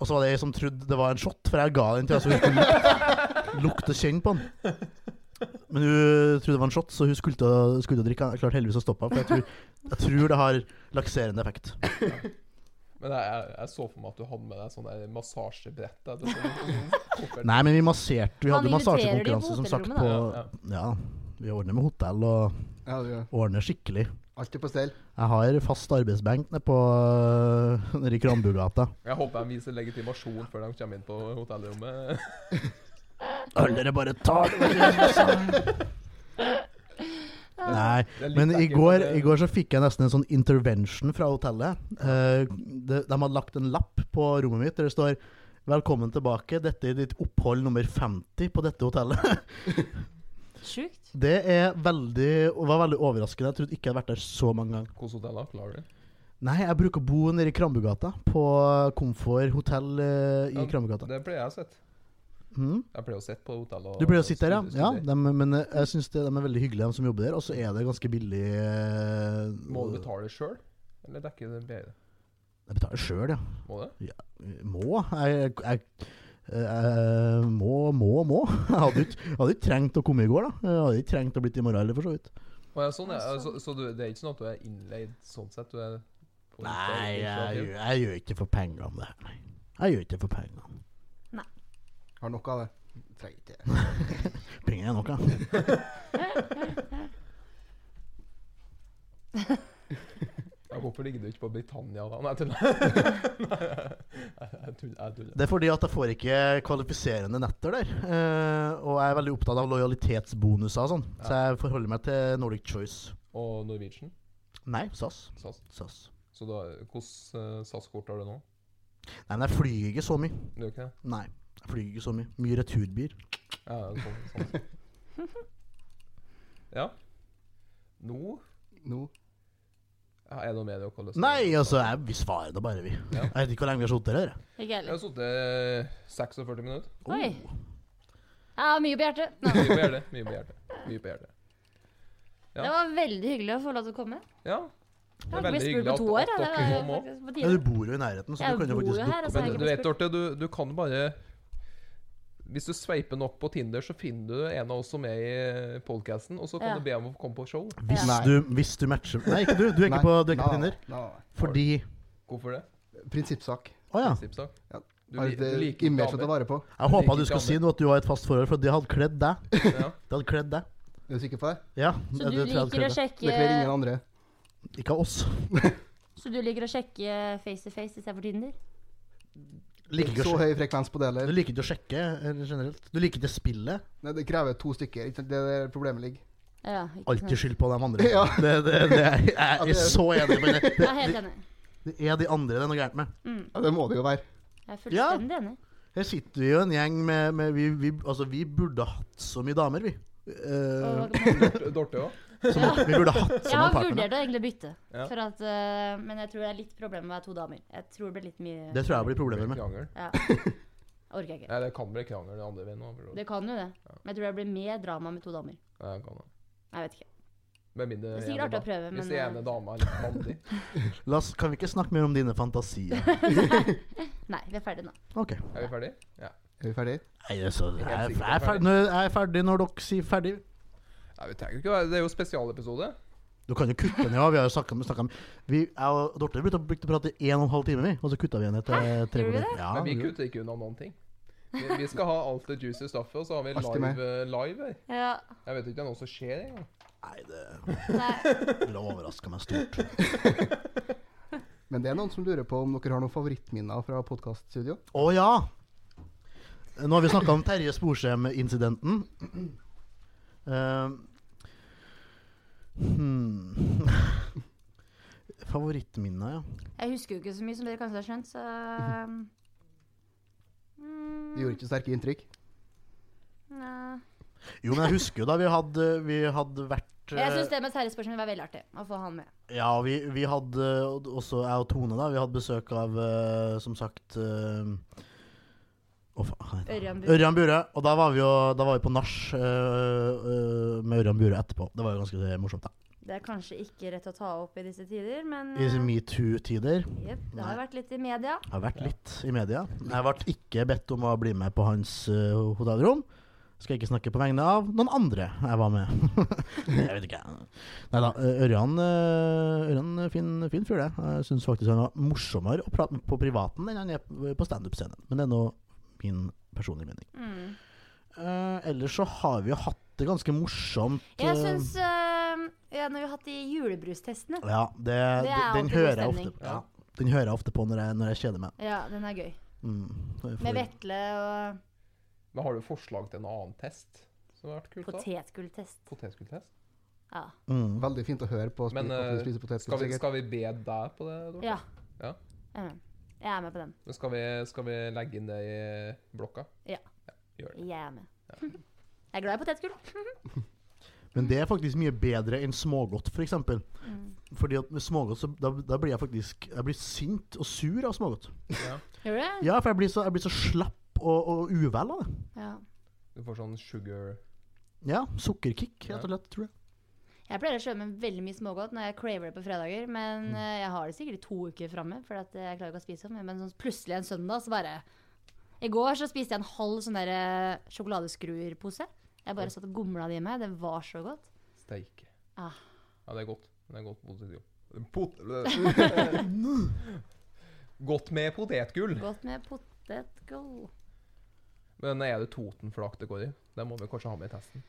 Speaker 2: Og så var det ei som trodde det var en shot, for jeg ga den til henne så hun skulle lukte- lukte kjenne på den. Men hun trodde det var en shot, så hun skulle til å- skulle til å drikke. den. Jeg klarte heldigvis å stoppe henne, for jeg tror, jeg tror det har lakserende effekt.
Speaker 1: Men jeg, jeg, jeg så for meg at du hadde med deg sånn der massasjebrett. da. Du sånn- koffert.
Speaker 2: Nei, men vi masserte. Vi
Speaker 3: Han
Speaker 2: hadde
Speaker 3: inviterer de på
Speaker 2: massasjekonkurranse, som sagt. På,
Speaker 3: hotellrommet,
Speaker 2: ja, Vi ordner med hotell og
Speaker 4: Ja, du gjør det.
Speaker 2: ordner skikkelig.
Speaker 4: Alt er på stell.
Speaker 2: Jeg har fast arbeidsbenk nede på øh, nede i Krambugata.
Speaker 1: Jeg håper de viser legitimasjon før de kommer inn på hotellrommet.
Speaker 2: Alle dere bare tar det! hva skjer? Nei,
Speaker 1: Det er litt
Speaker 2: men i
Speaker 1: ekkelt,
Speaker 2: går,
Speaker 1: det-
Speaker 2: i går så fikk jeg nesten en sånn intervention fra hotellet. Eh, de, de hadde lagt en lapp på rommet mitt der det står 'Velkommen tilbake, dette er ditt opphold nummer 50 på dette hotellet'.
Speaker 3: Sjukt.
Speaker 2: Det er veldig, var veldig overraskende. Jeg trodde ikke jeg hadde vært der så mange ganger.
Speaker 1: Hvilke hoteller klarer du?
Speaker 2: Nei, jeg bruker å bo nede i Krambugata, på Komfort hotell eh, i
Speaker 1: Ja,
Speaker 2: Krambugata.
Speaker 1: Det pleier jeg å sett.
Speaker 2: Mm.
Speaker 1: Jeg pleier å sett på hotell og
Speaker 2: Du pleier å sitte der,
Speaker 1: studere-
Speaker 2: ja? ja
Speaker 1: studere.
Speaker 2: dem- men eh, jeg syns de er veldig hyggelige, de som jobber der. Og så er det ganske billig eh,
Speaker 1: Må du betale sjøl, eller dekker det bedre?
Speaker 2: Jeg betaler sjøl, ja.
Speaker 1: Må det?
Speaker 2: Må. Jeg, jeg, jeg må, må, må. Jeg hadde ikke, hadde ikke trengt å komme i går, da. Jeg hadde ikke trengt å blitt i morgen heller, for så vidt.
Speaker 1: Å, ja, sånn, ja.
Speaker 3: Ja,
Speaker 1: Så,
Speaker 3: sånn.
Speaker 1: så du, det er ikke sånn at du er innleid sånn sett? Du er på
Speaker 2: Nei, jeg,
Speaker 1: initiativ?
Speaker 2: gjør- jeg gjør ikke for pengene det her, nei. Jeg gjør ikke for pengene.
Speaker 4: Har nok av det. Trenger ikke det.
Speaker 2: Penger er nok, ja.
Speaker 1: Ja, hvorfor ligger du ikke på Britannia, da? Nei, jeg tuller. Nei, jeg- jeg tuller. Jeg tuller.
Speaker 2: Det er fordi at jeg får ikke kvalifiserende netter der. eh, og jeg er veldig opptatt av lojalitetsbonuser og sånn. Så jeg forholder meg til Nordic Choice.
Speaker 1: Og Norwegian?
Speaker 2: Nei, SAS.
Speaker 1: SAS.
Speaker 2: SAS.
Speaker 1: Så da, hvordan eh, SAS-kort har du nå?
Speaker 2: Nei, men jeg flyr ikke så mye.
Speaker 1: Du gjør ikke det?
Speaker 2: Nei, jeg flyr ikke så mye. Mye returbier.
Speaker 1: Ja, sånn, sånn. ja. Nå
Speaker 4: Nå
Speaker 1: ja, er det noe med det dere har lyst til å-
Speaker 2: Nei, altså, jeg, vi svarer da bare, vi.
Speaker 1: Ja.
Speaker 2: Jeg vet ikke hvor lenge vi har sittet her. jeg.
Speaker 3: Ikke
Speaker 1: Jeg har
Speaker 3: heller.
Speaker 1: sittet 46 minutter.
Speaker 3: Oi.
Speaker 1: oh.
Speaker 3: Jeg har mye på hjertet. Nei.
Speaker 1: Mye på hjertet. Mye på hjertet. Mye på hjertet. Ja.
Speaker 3: Det var veldig hyggelig å få lov til å komme.
Speaker 1: Ja.
Speaker 3: Jeg
Speaker 1: Det er
Speaker 3: har ikke
Speaker 1: veldig
Speaker 3: blitt spurt
Speaker 1: hyggelig
Speaker 3: på
Speaker 1: at,
Speaker 3: to år.
Speaker 1: at
Speaker 3: ja,
Speaker 1: dere
Speaker 3: Det
Speaker 1: kom
Speaker 3: var
Speaker 1: òg.
Speaker 3: faktisk på
Speaker 2: Ja, du
Speaker 3: tide.
Speaker 2: bor jo i nærheten, så
Speaker 3: Jeg
Speaker 2: du kan jo
Speaker 3: bor
Speaker 2: faktisk
Speaker 3: jo her,
Speaker 2: dukke opp.
Speaker 3: altså.
Speaker 1: Men
Speaker 3: jeg
Speaker 1: du
Speaker 3: har
Speaker 1: vet,
Speaker 3: ikke
Speaker 1: Dorte, du, du kan bare Hvis du sveiper nok på Tinder, så finner du en av oss som er i podkasten, og så kan
Speaker 3: Ja.
Speaker 1: du be om å komme på show.
Speaker 2: Hvis,
Speaker 4: Nei.
Speaker 2: du, hvis du matcher Nei, ikke du. Du er ikke på, du er ikke på Tinder. Fordi
Speaker 1: Hvorfor det?
Speaker 4: Prinsippsak.
Speaker 2: Å ja.
Speaker 1: Prinsippsak?
Speaker 4: Ja.
Speaker 1: Du, li- du liker ikke
Speaker 4: Imaget å
Speaker 1: damer.
Speaker 4: ta vare på.
Speaker 2: Jeg
Speaker 1: liker
Speaker 2: håpa du
Speaker 1: ikke
Speaker 2: skulle si
Speaker 1: andre.
Speaker 2: noe at du har et fast forhold, for det hadde kledd deg.
Speaker 1: Ja.
Speaker 2: Det hadde kledd deg.
Speaker 4: Er du sikker på det?
Speaker 2: Ja,
Speaker 3: Så du
Speaker 2: det tror jeg hadde kledd
Speaker 3: liker å
Speaker 2: deg.
Speaker 4: Det kler
Speaker 3: sjekke
Speaker 4: ingen andre.
Speaker 2: Ikke av oss.
Speaker 3: Så du liker å sjekke face to face istedenfor Tinder?
Speaker 2: Liker ikke å
Speaker 4: Så
Speaker 2: sjekke.
Speaker 4: høy frekvens på det
Speaker 2: Du
Speaker 4: heller.
Speaker 2: liker ikke å sjekke eller generelt. Du liker ikke spillet.
Speaker 4: Nei, Det krever to stykker. Ikke sant? Det er der problemet ligger.
Speaker 3: Ja, ikke sant.
Speaker 2: Alltid skyld på de andre.
Speaker 4: Ja.
Speaker 2: Det, det, det er, jeg er så enig med det.
Speaker 3: Jeg er helt enig. Mm,
Speaker 2: Det er de andre det er noe gærent med.
Speaker 4: Ja, det må det jo være.
Speaker 3: Jeg er fullstendig enig.
Speaker 2: Her sitter vi jo en gjeng med, med vi, vi, Altså, vi burde hatt så mye damer, vi. Eh,
Speaker 3: Og man-
Speaker 1: Dorte- Dorte òg?
Speaker 2: som, vi burde hatt
Speaker 3: Jeg
Speaker 2: som en
Speaker 3: har
Speaker 2: partner.
Speaker 3: vurdert å egentlig bytte,
Speaker 1: Ja.
Speaker 3: for at, eh, men jeg tror det er litt problem med å være to damer. Jeg tror det blir litt mye
Speaker 2: Det tror jeg blir problemer med.
Speaker 1: Krangel.
Speaker 3: Ja. Orker jeg ikke.
Speaker 1: Nei, det kan bli krangel den andre veien òg.
Speaker 3: Det kan jo det, men jeg tror det blir mer drama med to damer. Jeg vet ikke.
Speaker 1: Med mindre
Speaker 3: Det er
Speaker 1: ene
Speaker 3: sikkert artig
Speaker 1: da-
Speaker 3: å prøve,
Speaker 1: Hvis
Speaker 3: men
Speaker 1: den ene
Speaker 3: eh,
Speaker 1: dama er litt mandig.
Speaker 2: La oss, kan vi ikke snakke mer om dine fantasier?
Speaker 3: Nei, vi er ferdige nå.
Speaker 2: Ok.
Speaker 1: Er vi ferdige? Ja.
Speaker 4: Er vi ferdige?
Speaker 2: Nei, det er så, jeg,
Speaker 1: Helt
Speaker 2: jeg,
Speaker 1: sikkert
Speaker 2: er ferdig, nå- jeg er ferdig når dere sier ferdig.
Speaker 1: Nei, vi trenger ikke å være Det er jo spesialepisode.
Speaker 2: Du kan jo kutte ned. ja, Vi har jo snakket, om- snakket om vi, Jeg og Dorte begynte å begynte å prate i en og en halv time, vi. Og så kutta vi igjen etter tre
Speaker 3: Gjorde vi
Speaker 2: kvarter. Ja,
Speaker 1: Men vi
Speaker 2: vi gjorde det.
Speaker 1: kutter ikke unna noen ting. Vi, vi skal ha alt det juicy stuffet, og så har vi
Speaker 4: Alt til meg.
Speaker 1: live, eh, live her.
Speaker 3: Ja,
Speaker 1: Jeg vet ikke det er noe som skjer engang.
Speaker 2: Nei, det
Speaker 3: nei,
Speaker 2: ville overraska meg stort.
Speaker 4: Men det er noen som lurer på om dere har noen favorittminner fra podkaststudio.
Speaker 2: Å ja! Nå har vi snakka om Terje Sporsem-incidenten. Eh, hmm. Favorittminner, ja.
Speaker 3: jeg husker jo ikke så mye som dere kanskje har skjønt, så mm,
Speaker 4: Det gjorde ikke sterke inntrykk.
Speaker 3: nei.
Speaker 2: Jo, men jeg husker jo da vi hadde, vi hadde vært
Speaker 3: Jeg
Speaker 2: eh,
Speaker 3: syns det med Terje-spørsmålet var veldig artig å få han med.
Speaker 2: Ja, vi, vi hadde og- også jeg og Tone, da. Vi hadde besøk av, eh, som sagt eh, Å, faen. hva heter han?
Speaker 3: Ørjan Bure.
Speaker 2: Ørjan Bure. Og da var vi jo da var vi på nach eh, eh, med Ørjan Bure etterpå. Det var jo ganske morsomt, da.
Speaker 3: Det er kanskje ikke rett å ta opp i disse tider, men
Speaker 2: I
Speaker 3: eh,
Speaker 2: metoo-tider.
Speaker 3: jep, det har jo vært litt i media.
Speaker 2: Jeg har vært litt i media. Jeg ble ikke bedt om å bli med på hans eh, hotellrom. Skal ikke snakke på vegne av noen andre jeg var med. jeg vet ikke. Nei da. Ørjan, eh, Ørjan eh, fin, fin fyr, det. Jeg syns faktisk han var morsommere å prate med på privaten enn han er på standup-scenen. Men det er nå min personlige mening.
Speaker 3: Mm.
Speaker 2: Eh, ellers så har vi jo hatt det ganske morsomt.
Speaker 3: Jeg
Speaker 2: eh,
Speaker 3: syns eh, Ja, når vi har hatt de julebrustestene.
Speaker 2: Ja, det,
Speaker 3: Det
Speaker 2: den
Speaker 3: er alltid god
Speaker 2: hører jeg
Speaker 3: stemning.
Speaker 2: ofte ja. Den hører jeg ofte på når jeg, når jeg kjeder meg.
Speaker 3: Ja, den er gøy.
Speaker 2: Mm. For-
Speaker 3: Med vetle og
Speaker 1: Men har du forslag til en annen test som har vært kult? da?
Speaker 3: potetgulltest.
Speaker 1: Potetgulltest?
Speaker 3: Ja.
Speaker 2: Mm.
Speaker 4: Veldig fint å høre på. å spi-
Speaker 1: Men,
Speaker 4: at
Speaker 1: eh,
Speaker 4: du spiser potetgull,
Speaker 1: Skal vi,
Speaker 4: sikkert.
Speaker 1: skal vi be deg på det? Dorte?
Speaker 3: ja.
Speaker 1: Ja.
Speaker 3: Mm. Jeg er med på den.
Speaker 1: Men skal vi, skal vi legge inn det i blokka?
Speaker 3: Jeg er med. Jeg er glad i potetgull.
Speaker 2: Men det er faktisk mye bedre enn smågodt, f.eks. For Fordi at med smågodt så da, da blir jeg faktisk Jeg blir sint og sur av smågodt.
Speaker 1: Ja.
Speaker 3: Gjør du det?
Speaker 2: Ja, for jeg blir så, jeg blir så slapp og, og uvel av det.
Speaker 3: Ja.
Speaker 1: Du får sånn sugar
Speaker 2: Ja, Sukkerkick, rett og slett, tror jeg.
Speaker 3: Jeg pleier å kjøpe med veldig mye smågodt når jeg craver det på fredager.
Speaker 1: Mm.
Speaker 3: Men eh, jeg har det sikkert i to uker framme, for at eh, jeg klarer ikke å spise så mye. Men sånn, plutselig en søndag så bare I går så spiste jeg en halv sånn der eh, sjokoladeskruer-pose. Jeg bare satt og gomla det i meg. Det var så godt.
Speaker 1: steike.
Speaker 3: Ah.
Speaker 1: Ja, det er godt. Men Det er godt potetgull. godt med potetgull.
Speaker 3: Godt med potetgull.
Speaker 1: Men er det Totenflak det går i? Det må vi kanskje ha med i testen.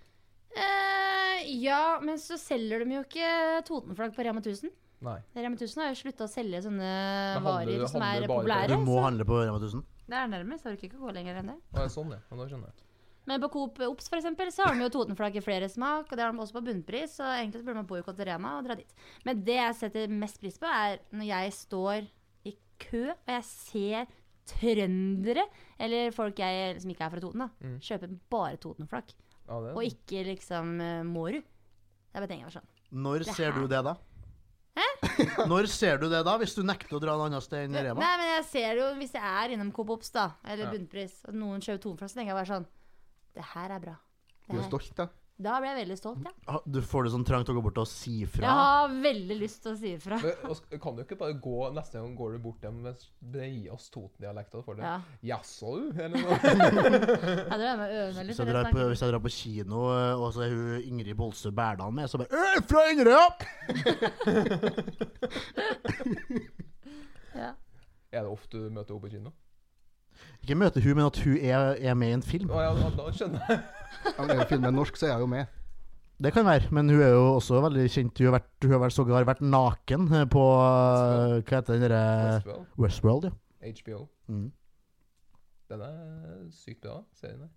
Speaker 3: Eh, ja, men så selger de jo ikke Totenflagg på Rema 1000.
Speaker 1: Nei.
Speaker 3: Rema 1000 har jo slutta å selge sånne
Speaker 1: handler-
Speaker 3: varer som
Speaker 1: handler
Speaker 3: er
Speaker 1: bare-
Speaker 2: Du
Speaker 3: populære.
Speaker 2: må handle på Rema 1000.
Speaker 3: Så det er nærmest. Jeg orker ikke å gå lenger enn det.
Speaker 1: Ja, det er sånn, ja. Men da skjønner jeg.
Speaker 3: Men på Coop Ops for eksempel, så har de jo Totenflagg i flere smak, og det har de også på bunnpris, så egentlig så burde man boikotte Rema og dra dit. Men det jeg setter mest pris på, er når jeg står i kø og jeg ser trøndere, eller folk jeg som ikke er fra Toten, da,
Speaker 1: Mm.
Speaker 3: kjøper bare Totenflagg,
Speaker 1: Ja, det
Speaker 3: og ikke liksom eh, Mårud. Jeg bare tenker meg sånn.
Speaker 2: Når
Speaker 3: Det
Speaker 2: ser
Speaker 3: her-
Speaker 2: du det, da? Når ser du det, da? Hvis du nekter å dra et annet sted enn
Speaker 3: Nei,
Speaker 2: Rema?
Speaker 3: men jeg ser jo, hvis jeg er innom Coop Ops, da, eller
Speaker 1: Ja.
Speaker 3: bunnpris, og noen kjøper Totenflagg, så tenker jeg bare sånn Det her er bra.
Speaker 4: Du
Speaker 3: Det
Speaker 4: er
Speaker 3: her.
Speaker 4: stolt, da.
Speaker 3: Da blir jeg veldig stolt, ja.
Speaker 2: Ha- Du får det sånn trangt å gå bort og si
Speaker 3: Jeg
Speaker 2: fra?
Speaker 3: har veldig lyst til å si ifra.
Speaker 1: Men, og sk- kan du ikke bare gå Neste gang går du bort dem med breie oss Toten-dialekta for det.
Speaker 3: Ja.
Speaker 1: Jaså, du? Eller noe.
Speaker 3: Ja, det er med å øve meg litt.
Speaker 2: Hvis jeg,
Speaker 3: eller
Speaker 2: drar på,
Speaker 3: snakke
Speaker 2: hvis jeg drar på kino, eh, og så er hun Ingrid Bolsø Berdal med, så bare «Øh, fra Inderøya!
Speaker 3: litt. Ja.
Speaker 1: er det ofte du møter henne på kino?
Speaker 2: Ikke møte hun, men at hun er, er med i en film.
Speaker 1: Å ja, da- da skjønner jeg.
Speaker 4: Ja, men er jo filmen norsk, så er jeg jo med.
Speaker 2: Det kan være, men hun er jo også veldig kjent. Hun har, vært, hun har vel sågar vært naken eh, på eh, Hva heter den derre
Speaker 1: Westworld,
Speaker 2: Westworld, ja.
Speaker 1: HBO.
Speaker 2: Mm.
Speaker 1: Den er sykt bra, serien der.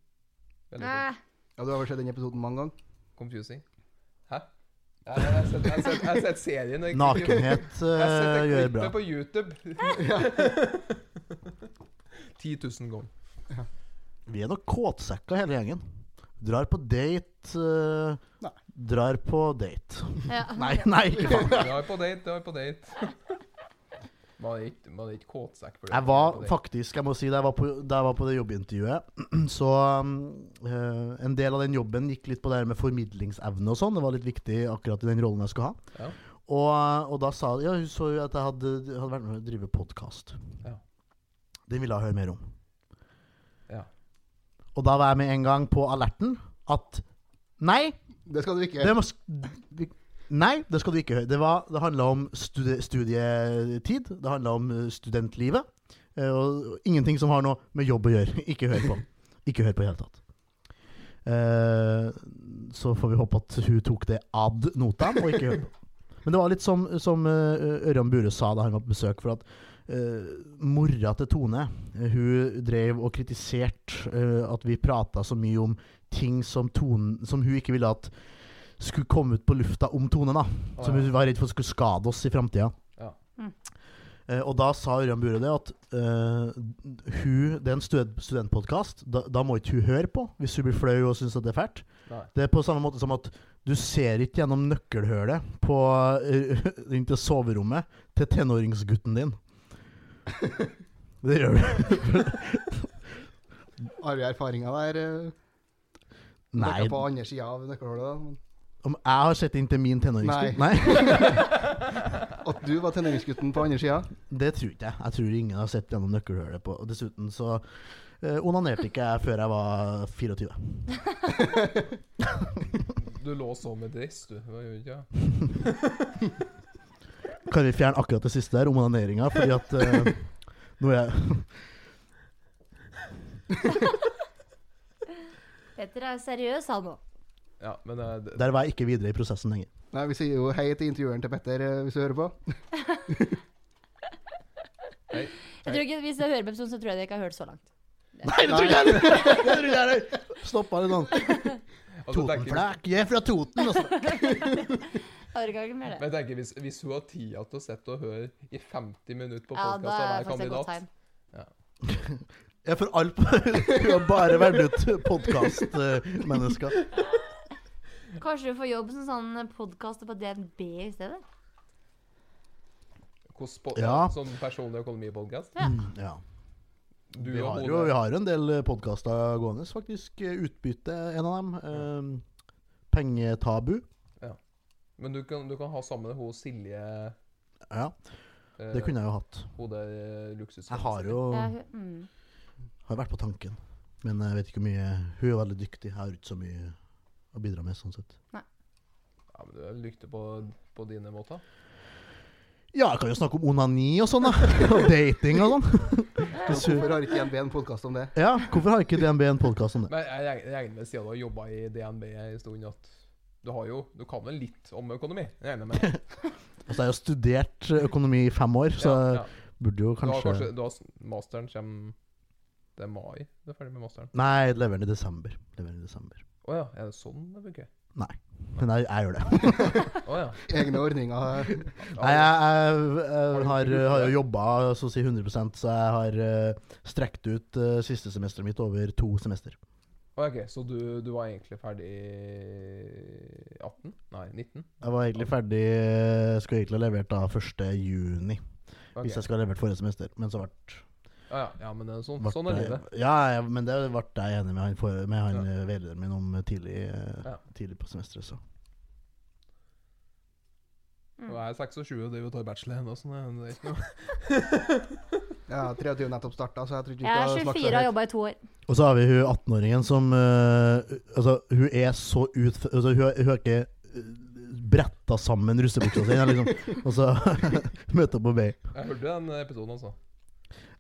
Speaker 1: Veldig
Speaker 3: Nei,
Speaker 1: cool.
Speaker 4: Ja, Du har vel sett den episoden mange ganger?
Speaker 1: confusing. Hæ? Jeg jeg har sett, jeg har sett, jeg har sett serien. jeg-
Speaker 2: Nakenhet
Speaker 1: Jeg har
Speaker 2: eh,
Speaker 1: sett det
Speaker 2: gjør bra.
Speaker 1: klippet på YouTube. 10 000 ganger.
Speaker 2: Vi er nok kåtsekka hele gjengen. Drar på date eh,
Speaker 4: Nei.
Speaker 2: Drar på date.
Speaker 3: ja.
Speaker 2: Nei, nei! ikke faen.
Speaker 1: Du er på date, du er på date. Man er ikke, man er ikke kåtsekk for det.
Speaker 2: Jeg var faktisk, jeg må si, da jeg var på, da jeg var på det jobbintervjuet, så um, eh, En del av den jobben gikk litt på det her med formidlingsevne og sånn. Det var litt viktig akkurat i den rollen jeg skulle ha.
Speaker 1: Ja.
Speaker 2: Og, og da sa ja, hun så jo at jeg hadde, hadde vært med å drive podkast.
Speaker 1: Ja.
Speaker 2: Den ville hun høre mer om.
Speaker 1: Ja.
Speaker 2: Og da var jeg med en gang på alerten at Nei,
Speaker 4: Det skal du ikke.
Speaker 2: det må sk- Nei, det skal du ikke høre. Det, var- det handla om studie, studietid. Det handla om eh, studentlivet. eh, Og ingenting som har noe med jobb å gjøre. Ikke hør på. Ikke hør på i det hele tatt. Eh, så får vi håpe at hun tok det ad notam, og ikke hør på. Men det var litt som, som eh, Ørjan Bure sa da han var på besøk, for at eh, mora til Tone eh, Hun drev og kritiserte eh, at vi prata så mye om ting som, Tone, som hun ikke ville at skulle komme ut på lufta om Tone, da. Som hun var redd for skulle skade oss i framtida.
Speaker 1: Ja.
Speaker 3: Mm.
Speaker 2: Eh, og da sa Ørjan Bure det at eh, hun, det er en stud studentpodkast. Da, da må ikke hun høre på hvis hun blir flau og syns at det er fælt.
Speaker 1: Nei.
Speaker 2: Det er på samme måte som at du ser ikke gjennom nøkkelhølet på, eh, inn til soverommet til tenåringsgutten din. Det gjør du.
Speaker 4: Har vi erfaringer der? eh,
Speaker 2: Nei.
Speaker 4: Dere På andre sida av nøkkelhullet, da. Men
Speaker 2: Om jeg har sett inn til min tenåringsgutt? Nei.
Speaker 4: At du var tenåringsgutten på andre sida?
Speaker 2: Det tror ikke jeg. Jeg tror ingen har sett gjennom nøkkelhullet på. Og dessuten så eh, onanerte ikke jeg før jeg var 24.
Speaker 1: Du lå så med driss, du. Det var jo ikke det.
Speaker 2: Kan vi fjerne akkurat det siste der, om onaneringa, fordi at eh, nå er jeg
Speaker 3: Petter er seriøs, han nå.
Speaker 1: Ja, men eh, det,
Speaker 2: Der var jeg ikke videre i prosessen lenger.
Speaker 4: Nei, vi sier jo hei til intervjueren til Petter eh, hvis du hører på.
Speaker 3: Jeg tror ikke, Hvis jeg hører på episoden, så tror jeg dere ikke har hørt så langt.
Speaker 2: Nei, det tror ikke jeg det tror ikke jeg heller! Stoppa litt sånn.
Speaker 1: altså, tenker-
Speaker 2: Totenflak, jeg er fra Toten! altså. Og så-
Speaker 3: Hører ikke mer
Speaker 1: Men
Speaker 3: det.
Speaker 1: jeg tenker, hvis, hvis hun har tida til å sitte og høre i 50 minutter på
Speaker 3: Ja,
Speaker 1: podkast
Speaker 3: da
Speaker 1: av
Speaker 3: er det
Speaker 1: hver
Speaker 3: faktisk et godt
Speaker 1: kandidat
Speaker 3: tegn.
Speaker 2: Jeg er for alt Hun har bare valgt ut podkastmennesker.
Speaker 3: Kanskje du får jobb som sånn podkaster på DNB i stedet?
Speaker 1: Hvordan po-
Speaker 2: Ja.
Speaker 1: Sånn personlig økonomipodkast.
Speaker 2: Mm, Ja.
Speaker 1: Du
Speaker 2: Vi
Speaker 1: og
Speaker 2: har, jo,
Speaker 1: Hode.
Speaker 2: vi har jo en del podkaster gående, faktisk. Eh, Utbytte, en av dem. Ehm, pengetabu.
Speaker 1: Men du kan, du kan ha sammen med hun Silje
Speaker 2: Ja,
Speaker 1: eh,
Speaker 2: det kunne jeg jo hatt.
Speaker 1: Hun der eh, luksus...
Speaker 2: Jeg har jo
Speaker 3: Ja, hu- mm.
Speaker 2: har vært på tanken, men jeg vet ikke hvor mye Hun er veldig dyktig, jeg har ikke så mye å bidra med, sånn sett.
Speaker 1: Ja, men du er dyktig på, på dine måter.
Speaker 2: Ja, jeg kan jo snakke om onani og sånn, da. Og dating og sånn.
Speaker 4: Hvorfor har ikke DNB en podkast om det?
Speaker 2: Ja, hvorfor har ikke DNB en podkast om det?
Speaker 1: Men jeg reg- jeg regner med, siden du har jobba i DNB en stund, at du har jo Du kan vel litt om økonomi? Jeg regner med det.
Speaker 2: Altså, jeg har jo studert eh, økonomi i fem år, så
Speaker 1: Ja, ja.
Speaker 2: jeg burde jo
Speaker 1: Du har
Speaker 2: kanskje
Speaker 1: kanskje du har, s- Masteren kommer Det er mai du er ferdig med masteren?
Speaker 2: Nei, jeg leverer den i desember. Leverer den i desember.
Speaker 1: Å ja, er det sånn det funker?
Speaker 2: Nei. Men jeg, jeg gjør det.
Speaker 1: Å ja.
Speaker 4: Egne ordninger.
Speaker 1: Ja,
Speaker 2: Nei, jeg, jeg,
Speaker 1: du ikke
Speaker 2: jeg har,
Speaker 1: gjort
Speaker 2: har jo
Speaker 1: det?
Speaker 2: jobba så å si 100 så jeg har eh, strekt ut eh, siste semesteret mitt over to semester.
Speaker 1: Å, Ok, så du, du var egentlig ferdig i 18? Nei, 19?
Speaker 2: Jeg var egentlig ferdig eh, Skulle egentlig ha levert da 1. juni,
Speaker 1: Ok.
Speaker 2: hvis jeg skulle ha levert forrige semester. Men så ble
Speaker 1: Ja, ja, ja, men det er sånn,
Speaker 2: ble
Speaker 1: sånn er
Speaker 2: jeg-
Speaker 1: livet.
Speaker 2: Ja, ja, men det ble jeg enig med han, for, med han eh, veilederen min om eh, tidlig, eh,
Speaker 1: Ja.
Speaker 2: tidlig på semesteret. Så.
Speaker 1: Og Jeg er 26 og driver og tar bachelor ennå, så det det er ikke noe
Speaker 4: Ja, 23 nettopp starta, så jeg tror ikke
Speaker 3: Jeg er
Speaker 4: skal smake
Speaker 3: 24 og
Speaker 4: så
Speaker 3: har
Speaker 4: høyt.
Speaker 3: jobba i to år.
Speaker 2: Og så har vi hun 18-åringen som eh, Altså, hun er så ut... Altså, hun, har- hun har ikke eh, bretta sammen russebuksa si, liksom. Og så møter hun på vei.
Speaker 1: Jeg hørte den episoden, altså.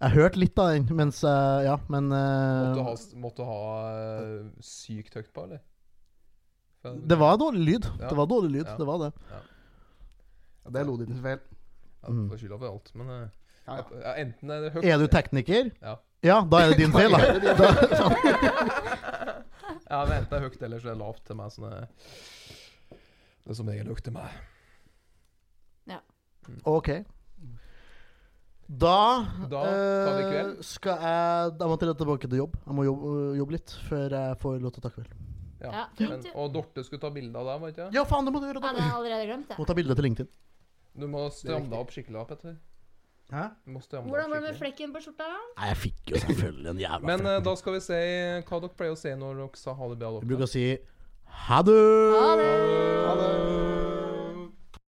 Speaker 2: Jeg hørte litt av den, mens jeg Ja, men eh,
Speaker 1: Måtte ha, s- måtte ha eh, sykt høyt på, eller? For-
Speaker 2: Det var dårlig lyd.
Speaker 1: Ja.
Speaker 2: Det var dårlig lyd,
Speaker 1: Ja.
Speaker 2: det var det.
Speaker 4: Ja, Det er Lodins feil.
Speaker 1: Ja, du får skylda for alt, men eh,
Speaker 4: Ja, ja.
Speaker 1: ja, enten er det høyt
Speaker 2: Er du tekniker?
Speaker 1: Ja.
Speaker 2: Ja, da er det din feil, da. da
Speaker 1: Ja, men enten er det høyt eller så er det lavt til meg. Sånn, det, det er som regel høyt til meg.
Speaker 2: OK. Da,
Speaker 1: Da tar vi
Speaker 2: eh,
Speaker 1: kveld.
Speaker 2: skal jeg Da må jeg tilbake til jobb. Jeg må jobbe, jobbe litt før jeg får lov til å ta kveld.
Speaker 3: Ja,
Speaker 1: Men,
Speaker 3: fint, du.
Speaker 1: og Dorte skulle ta bilde av deg, var det ikke?
Speaker 2: Ja, faen, det må du gjøre!
Speaker 3: Ja,
Speaker 2: Da.
Speaker 3: det har jeg allerede glemt. Jeg.
Speaker 2: Må ta bilde til LinkedIn.
Speaker 1: Du må stramme deg opp skikkelig, da, Petter.
Speaker 2: Hæ?
Speaker 1: Du må stramme deg
Speaker 3: Hvordan
Speaker 1: opp
Speaker 3: var det med
Speaker 1: skikkelig.
Speaker 3: flekken på skjorta?
Speaker 2: Nei, jeg fikk jo selvfølgelig en jævla
Speaker 1: Men eh,
Speaker 2: flekk.
Speaker 1: da skal vi se hva dere pleier å se når dere sa ha det bra.
Speaker 2: Jeg
Speaker 1: dere.
Speaker 2: bruker å si eh, ha det!
Speaker 3: Ha det!
Speaker 4: Ha det.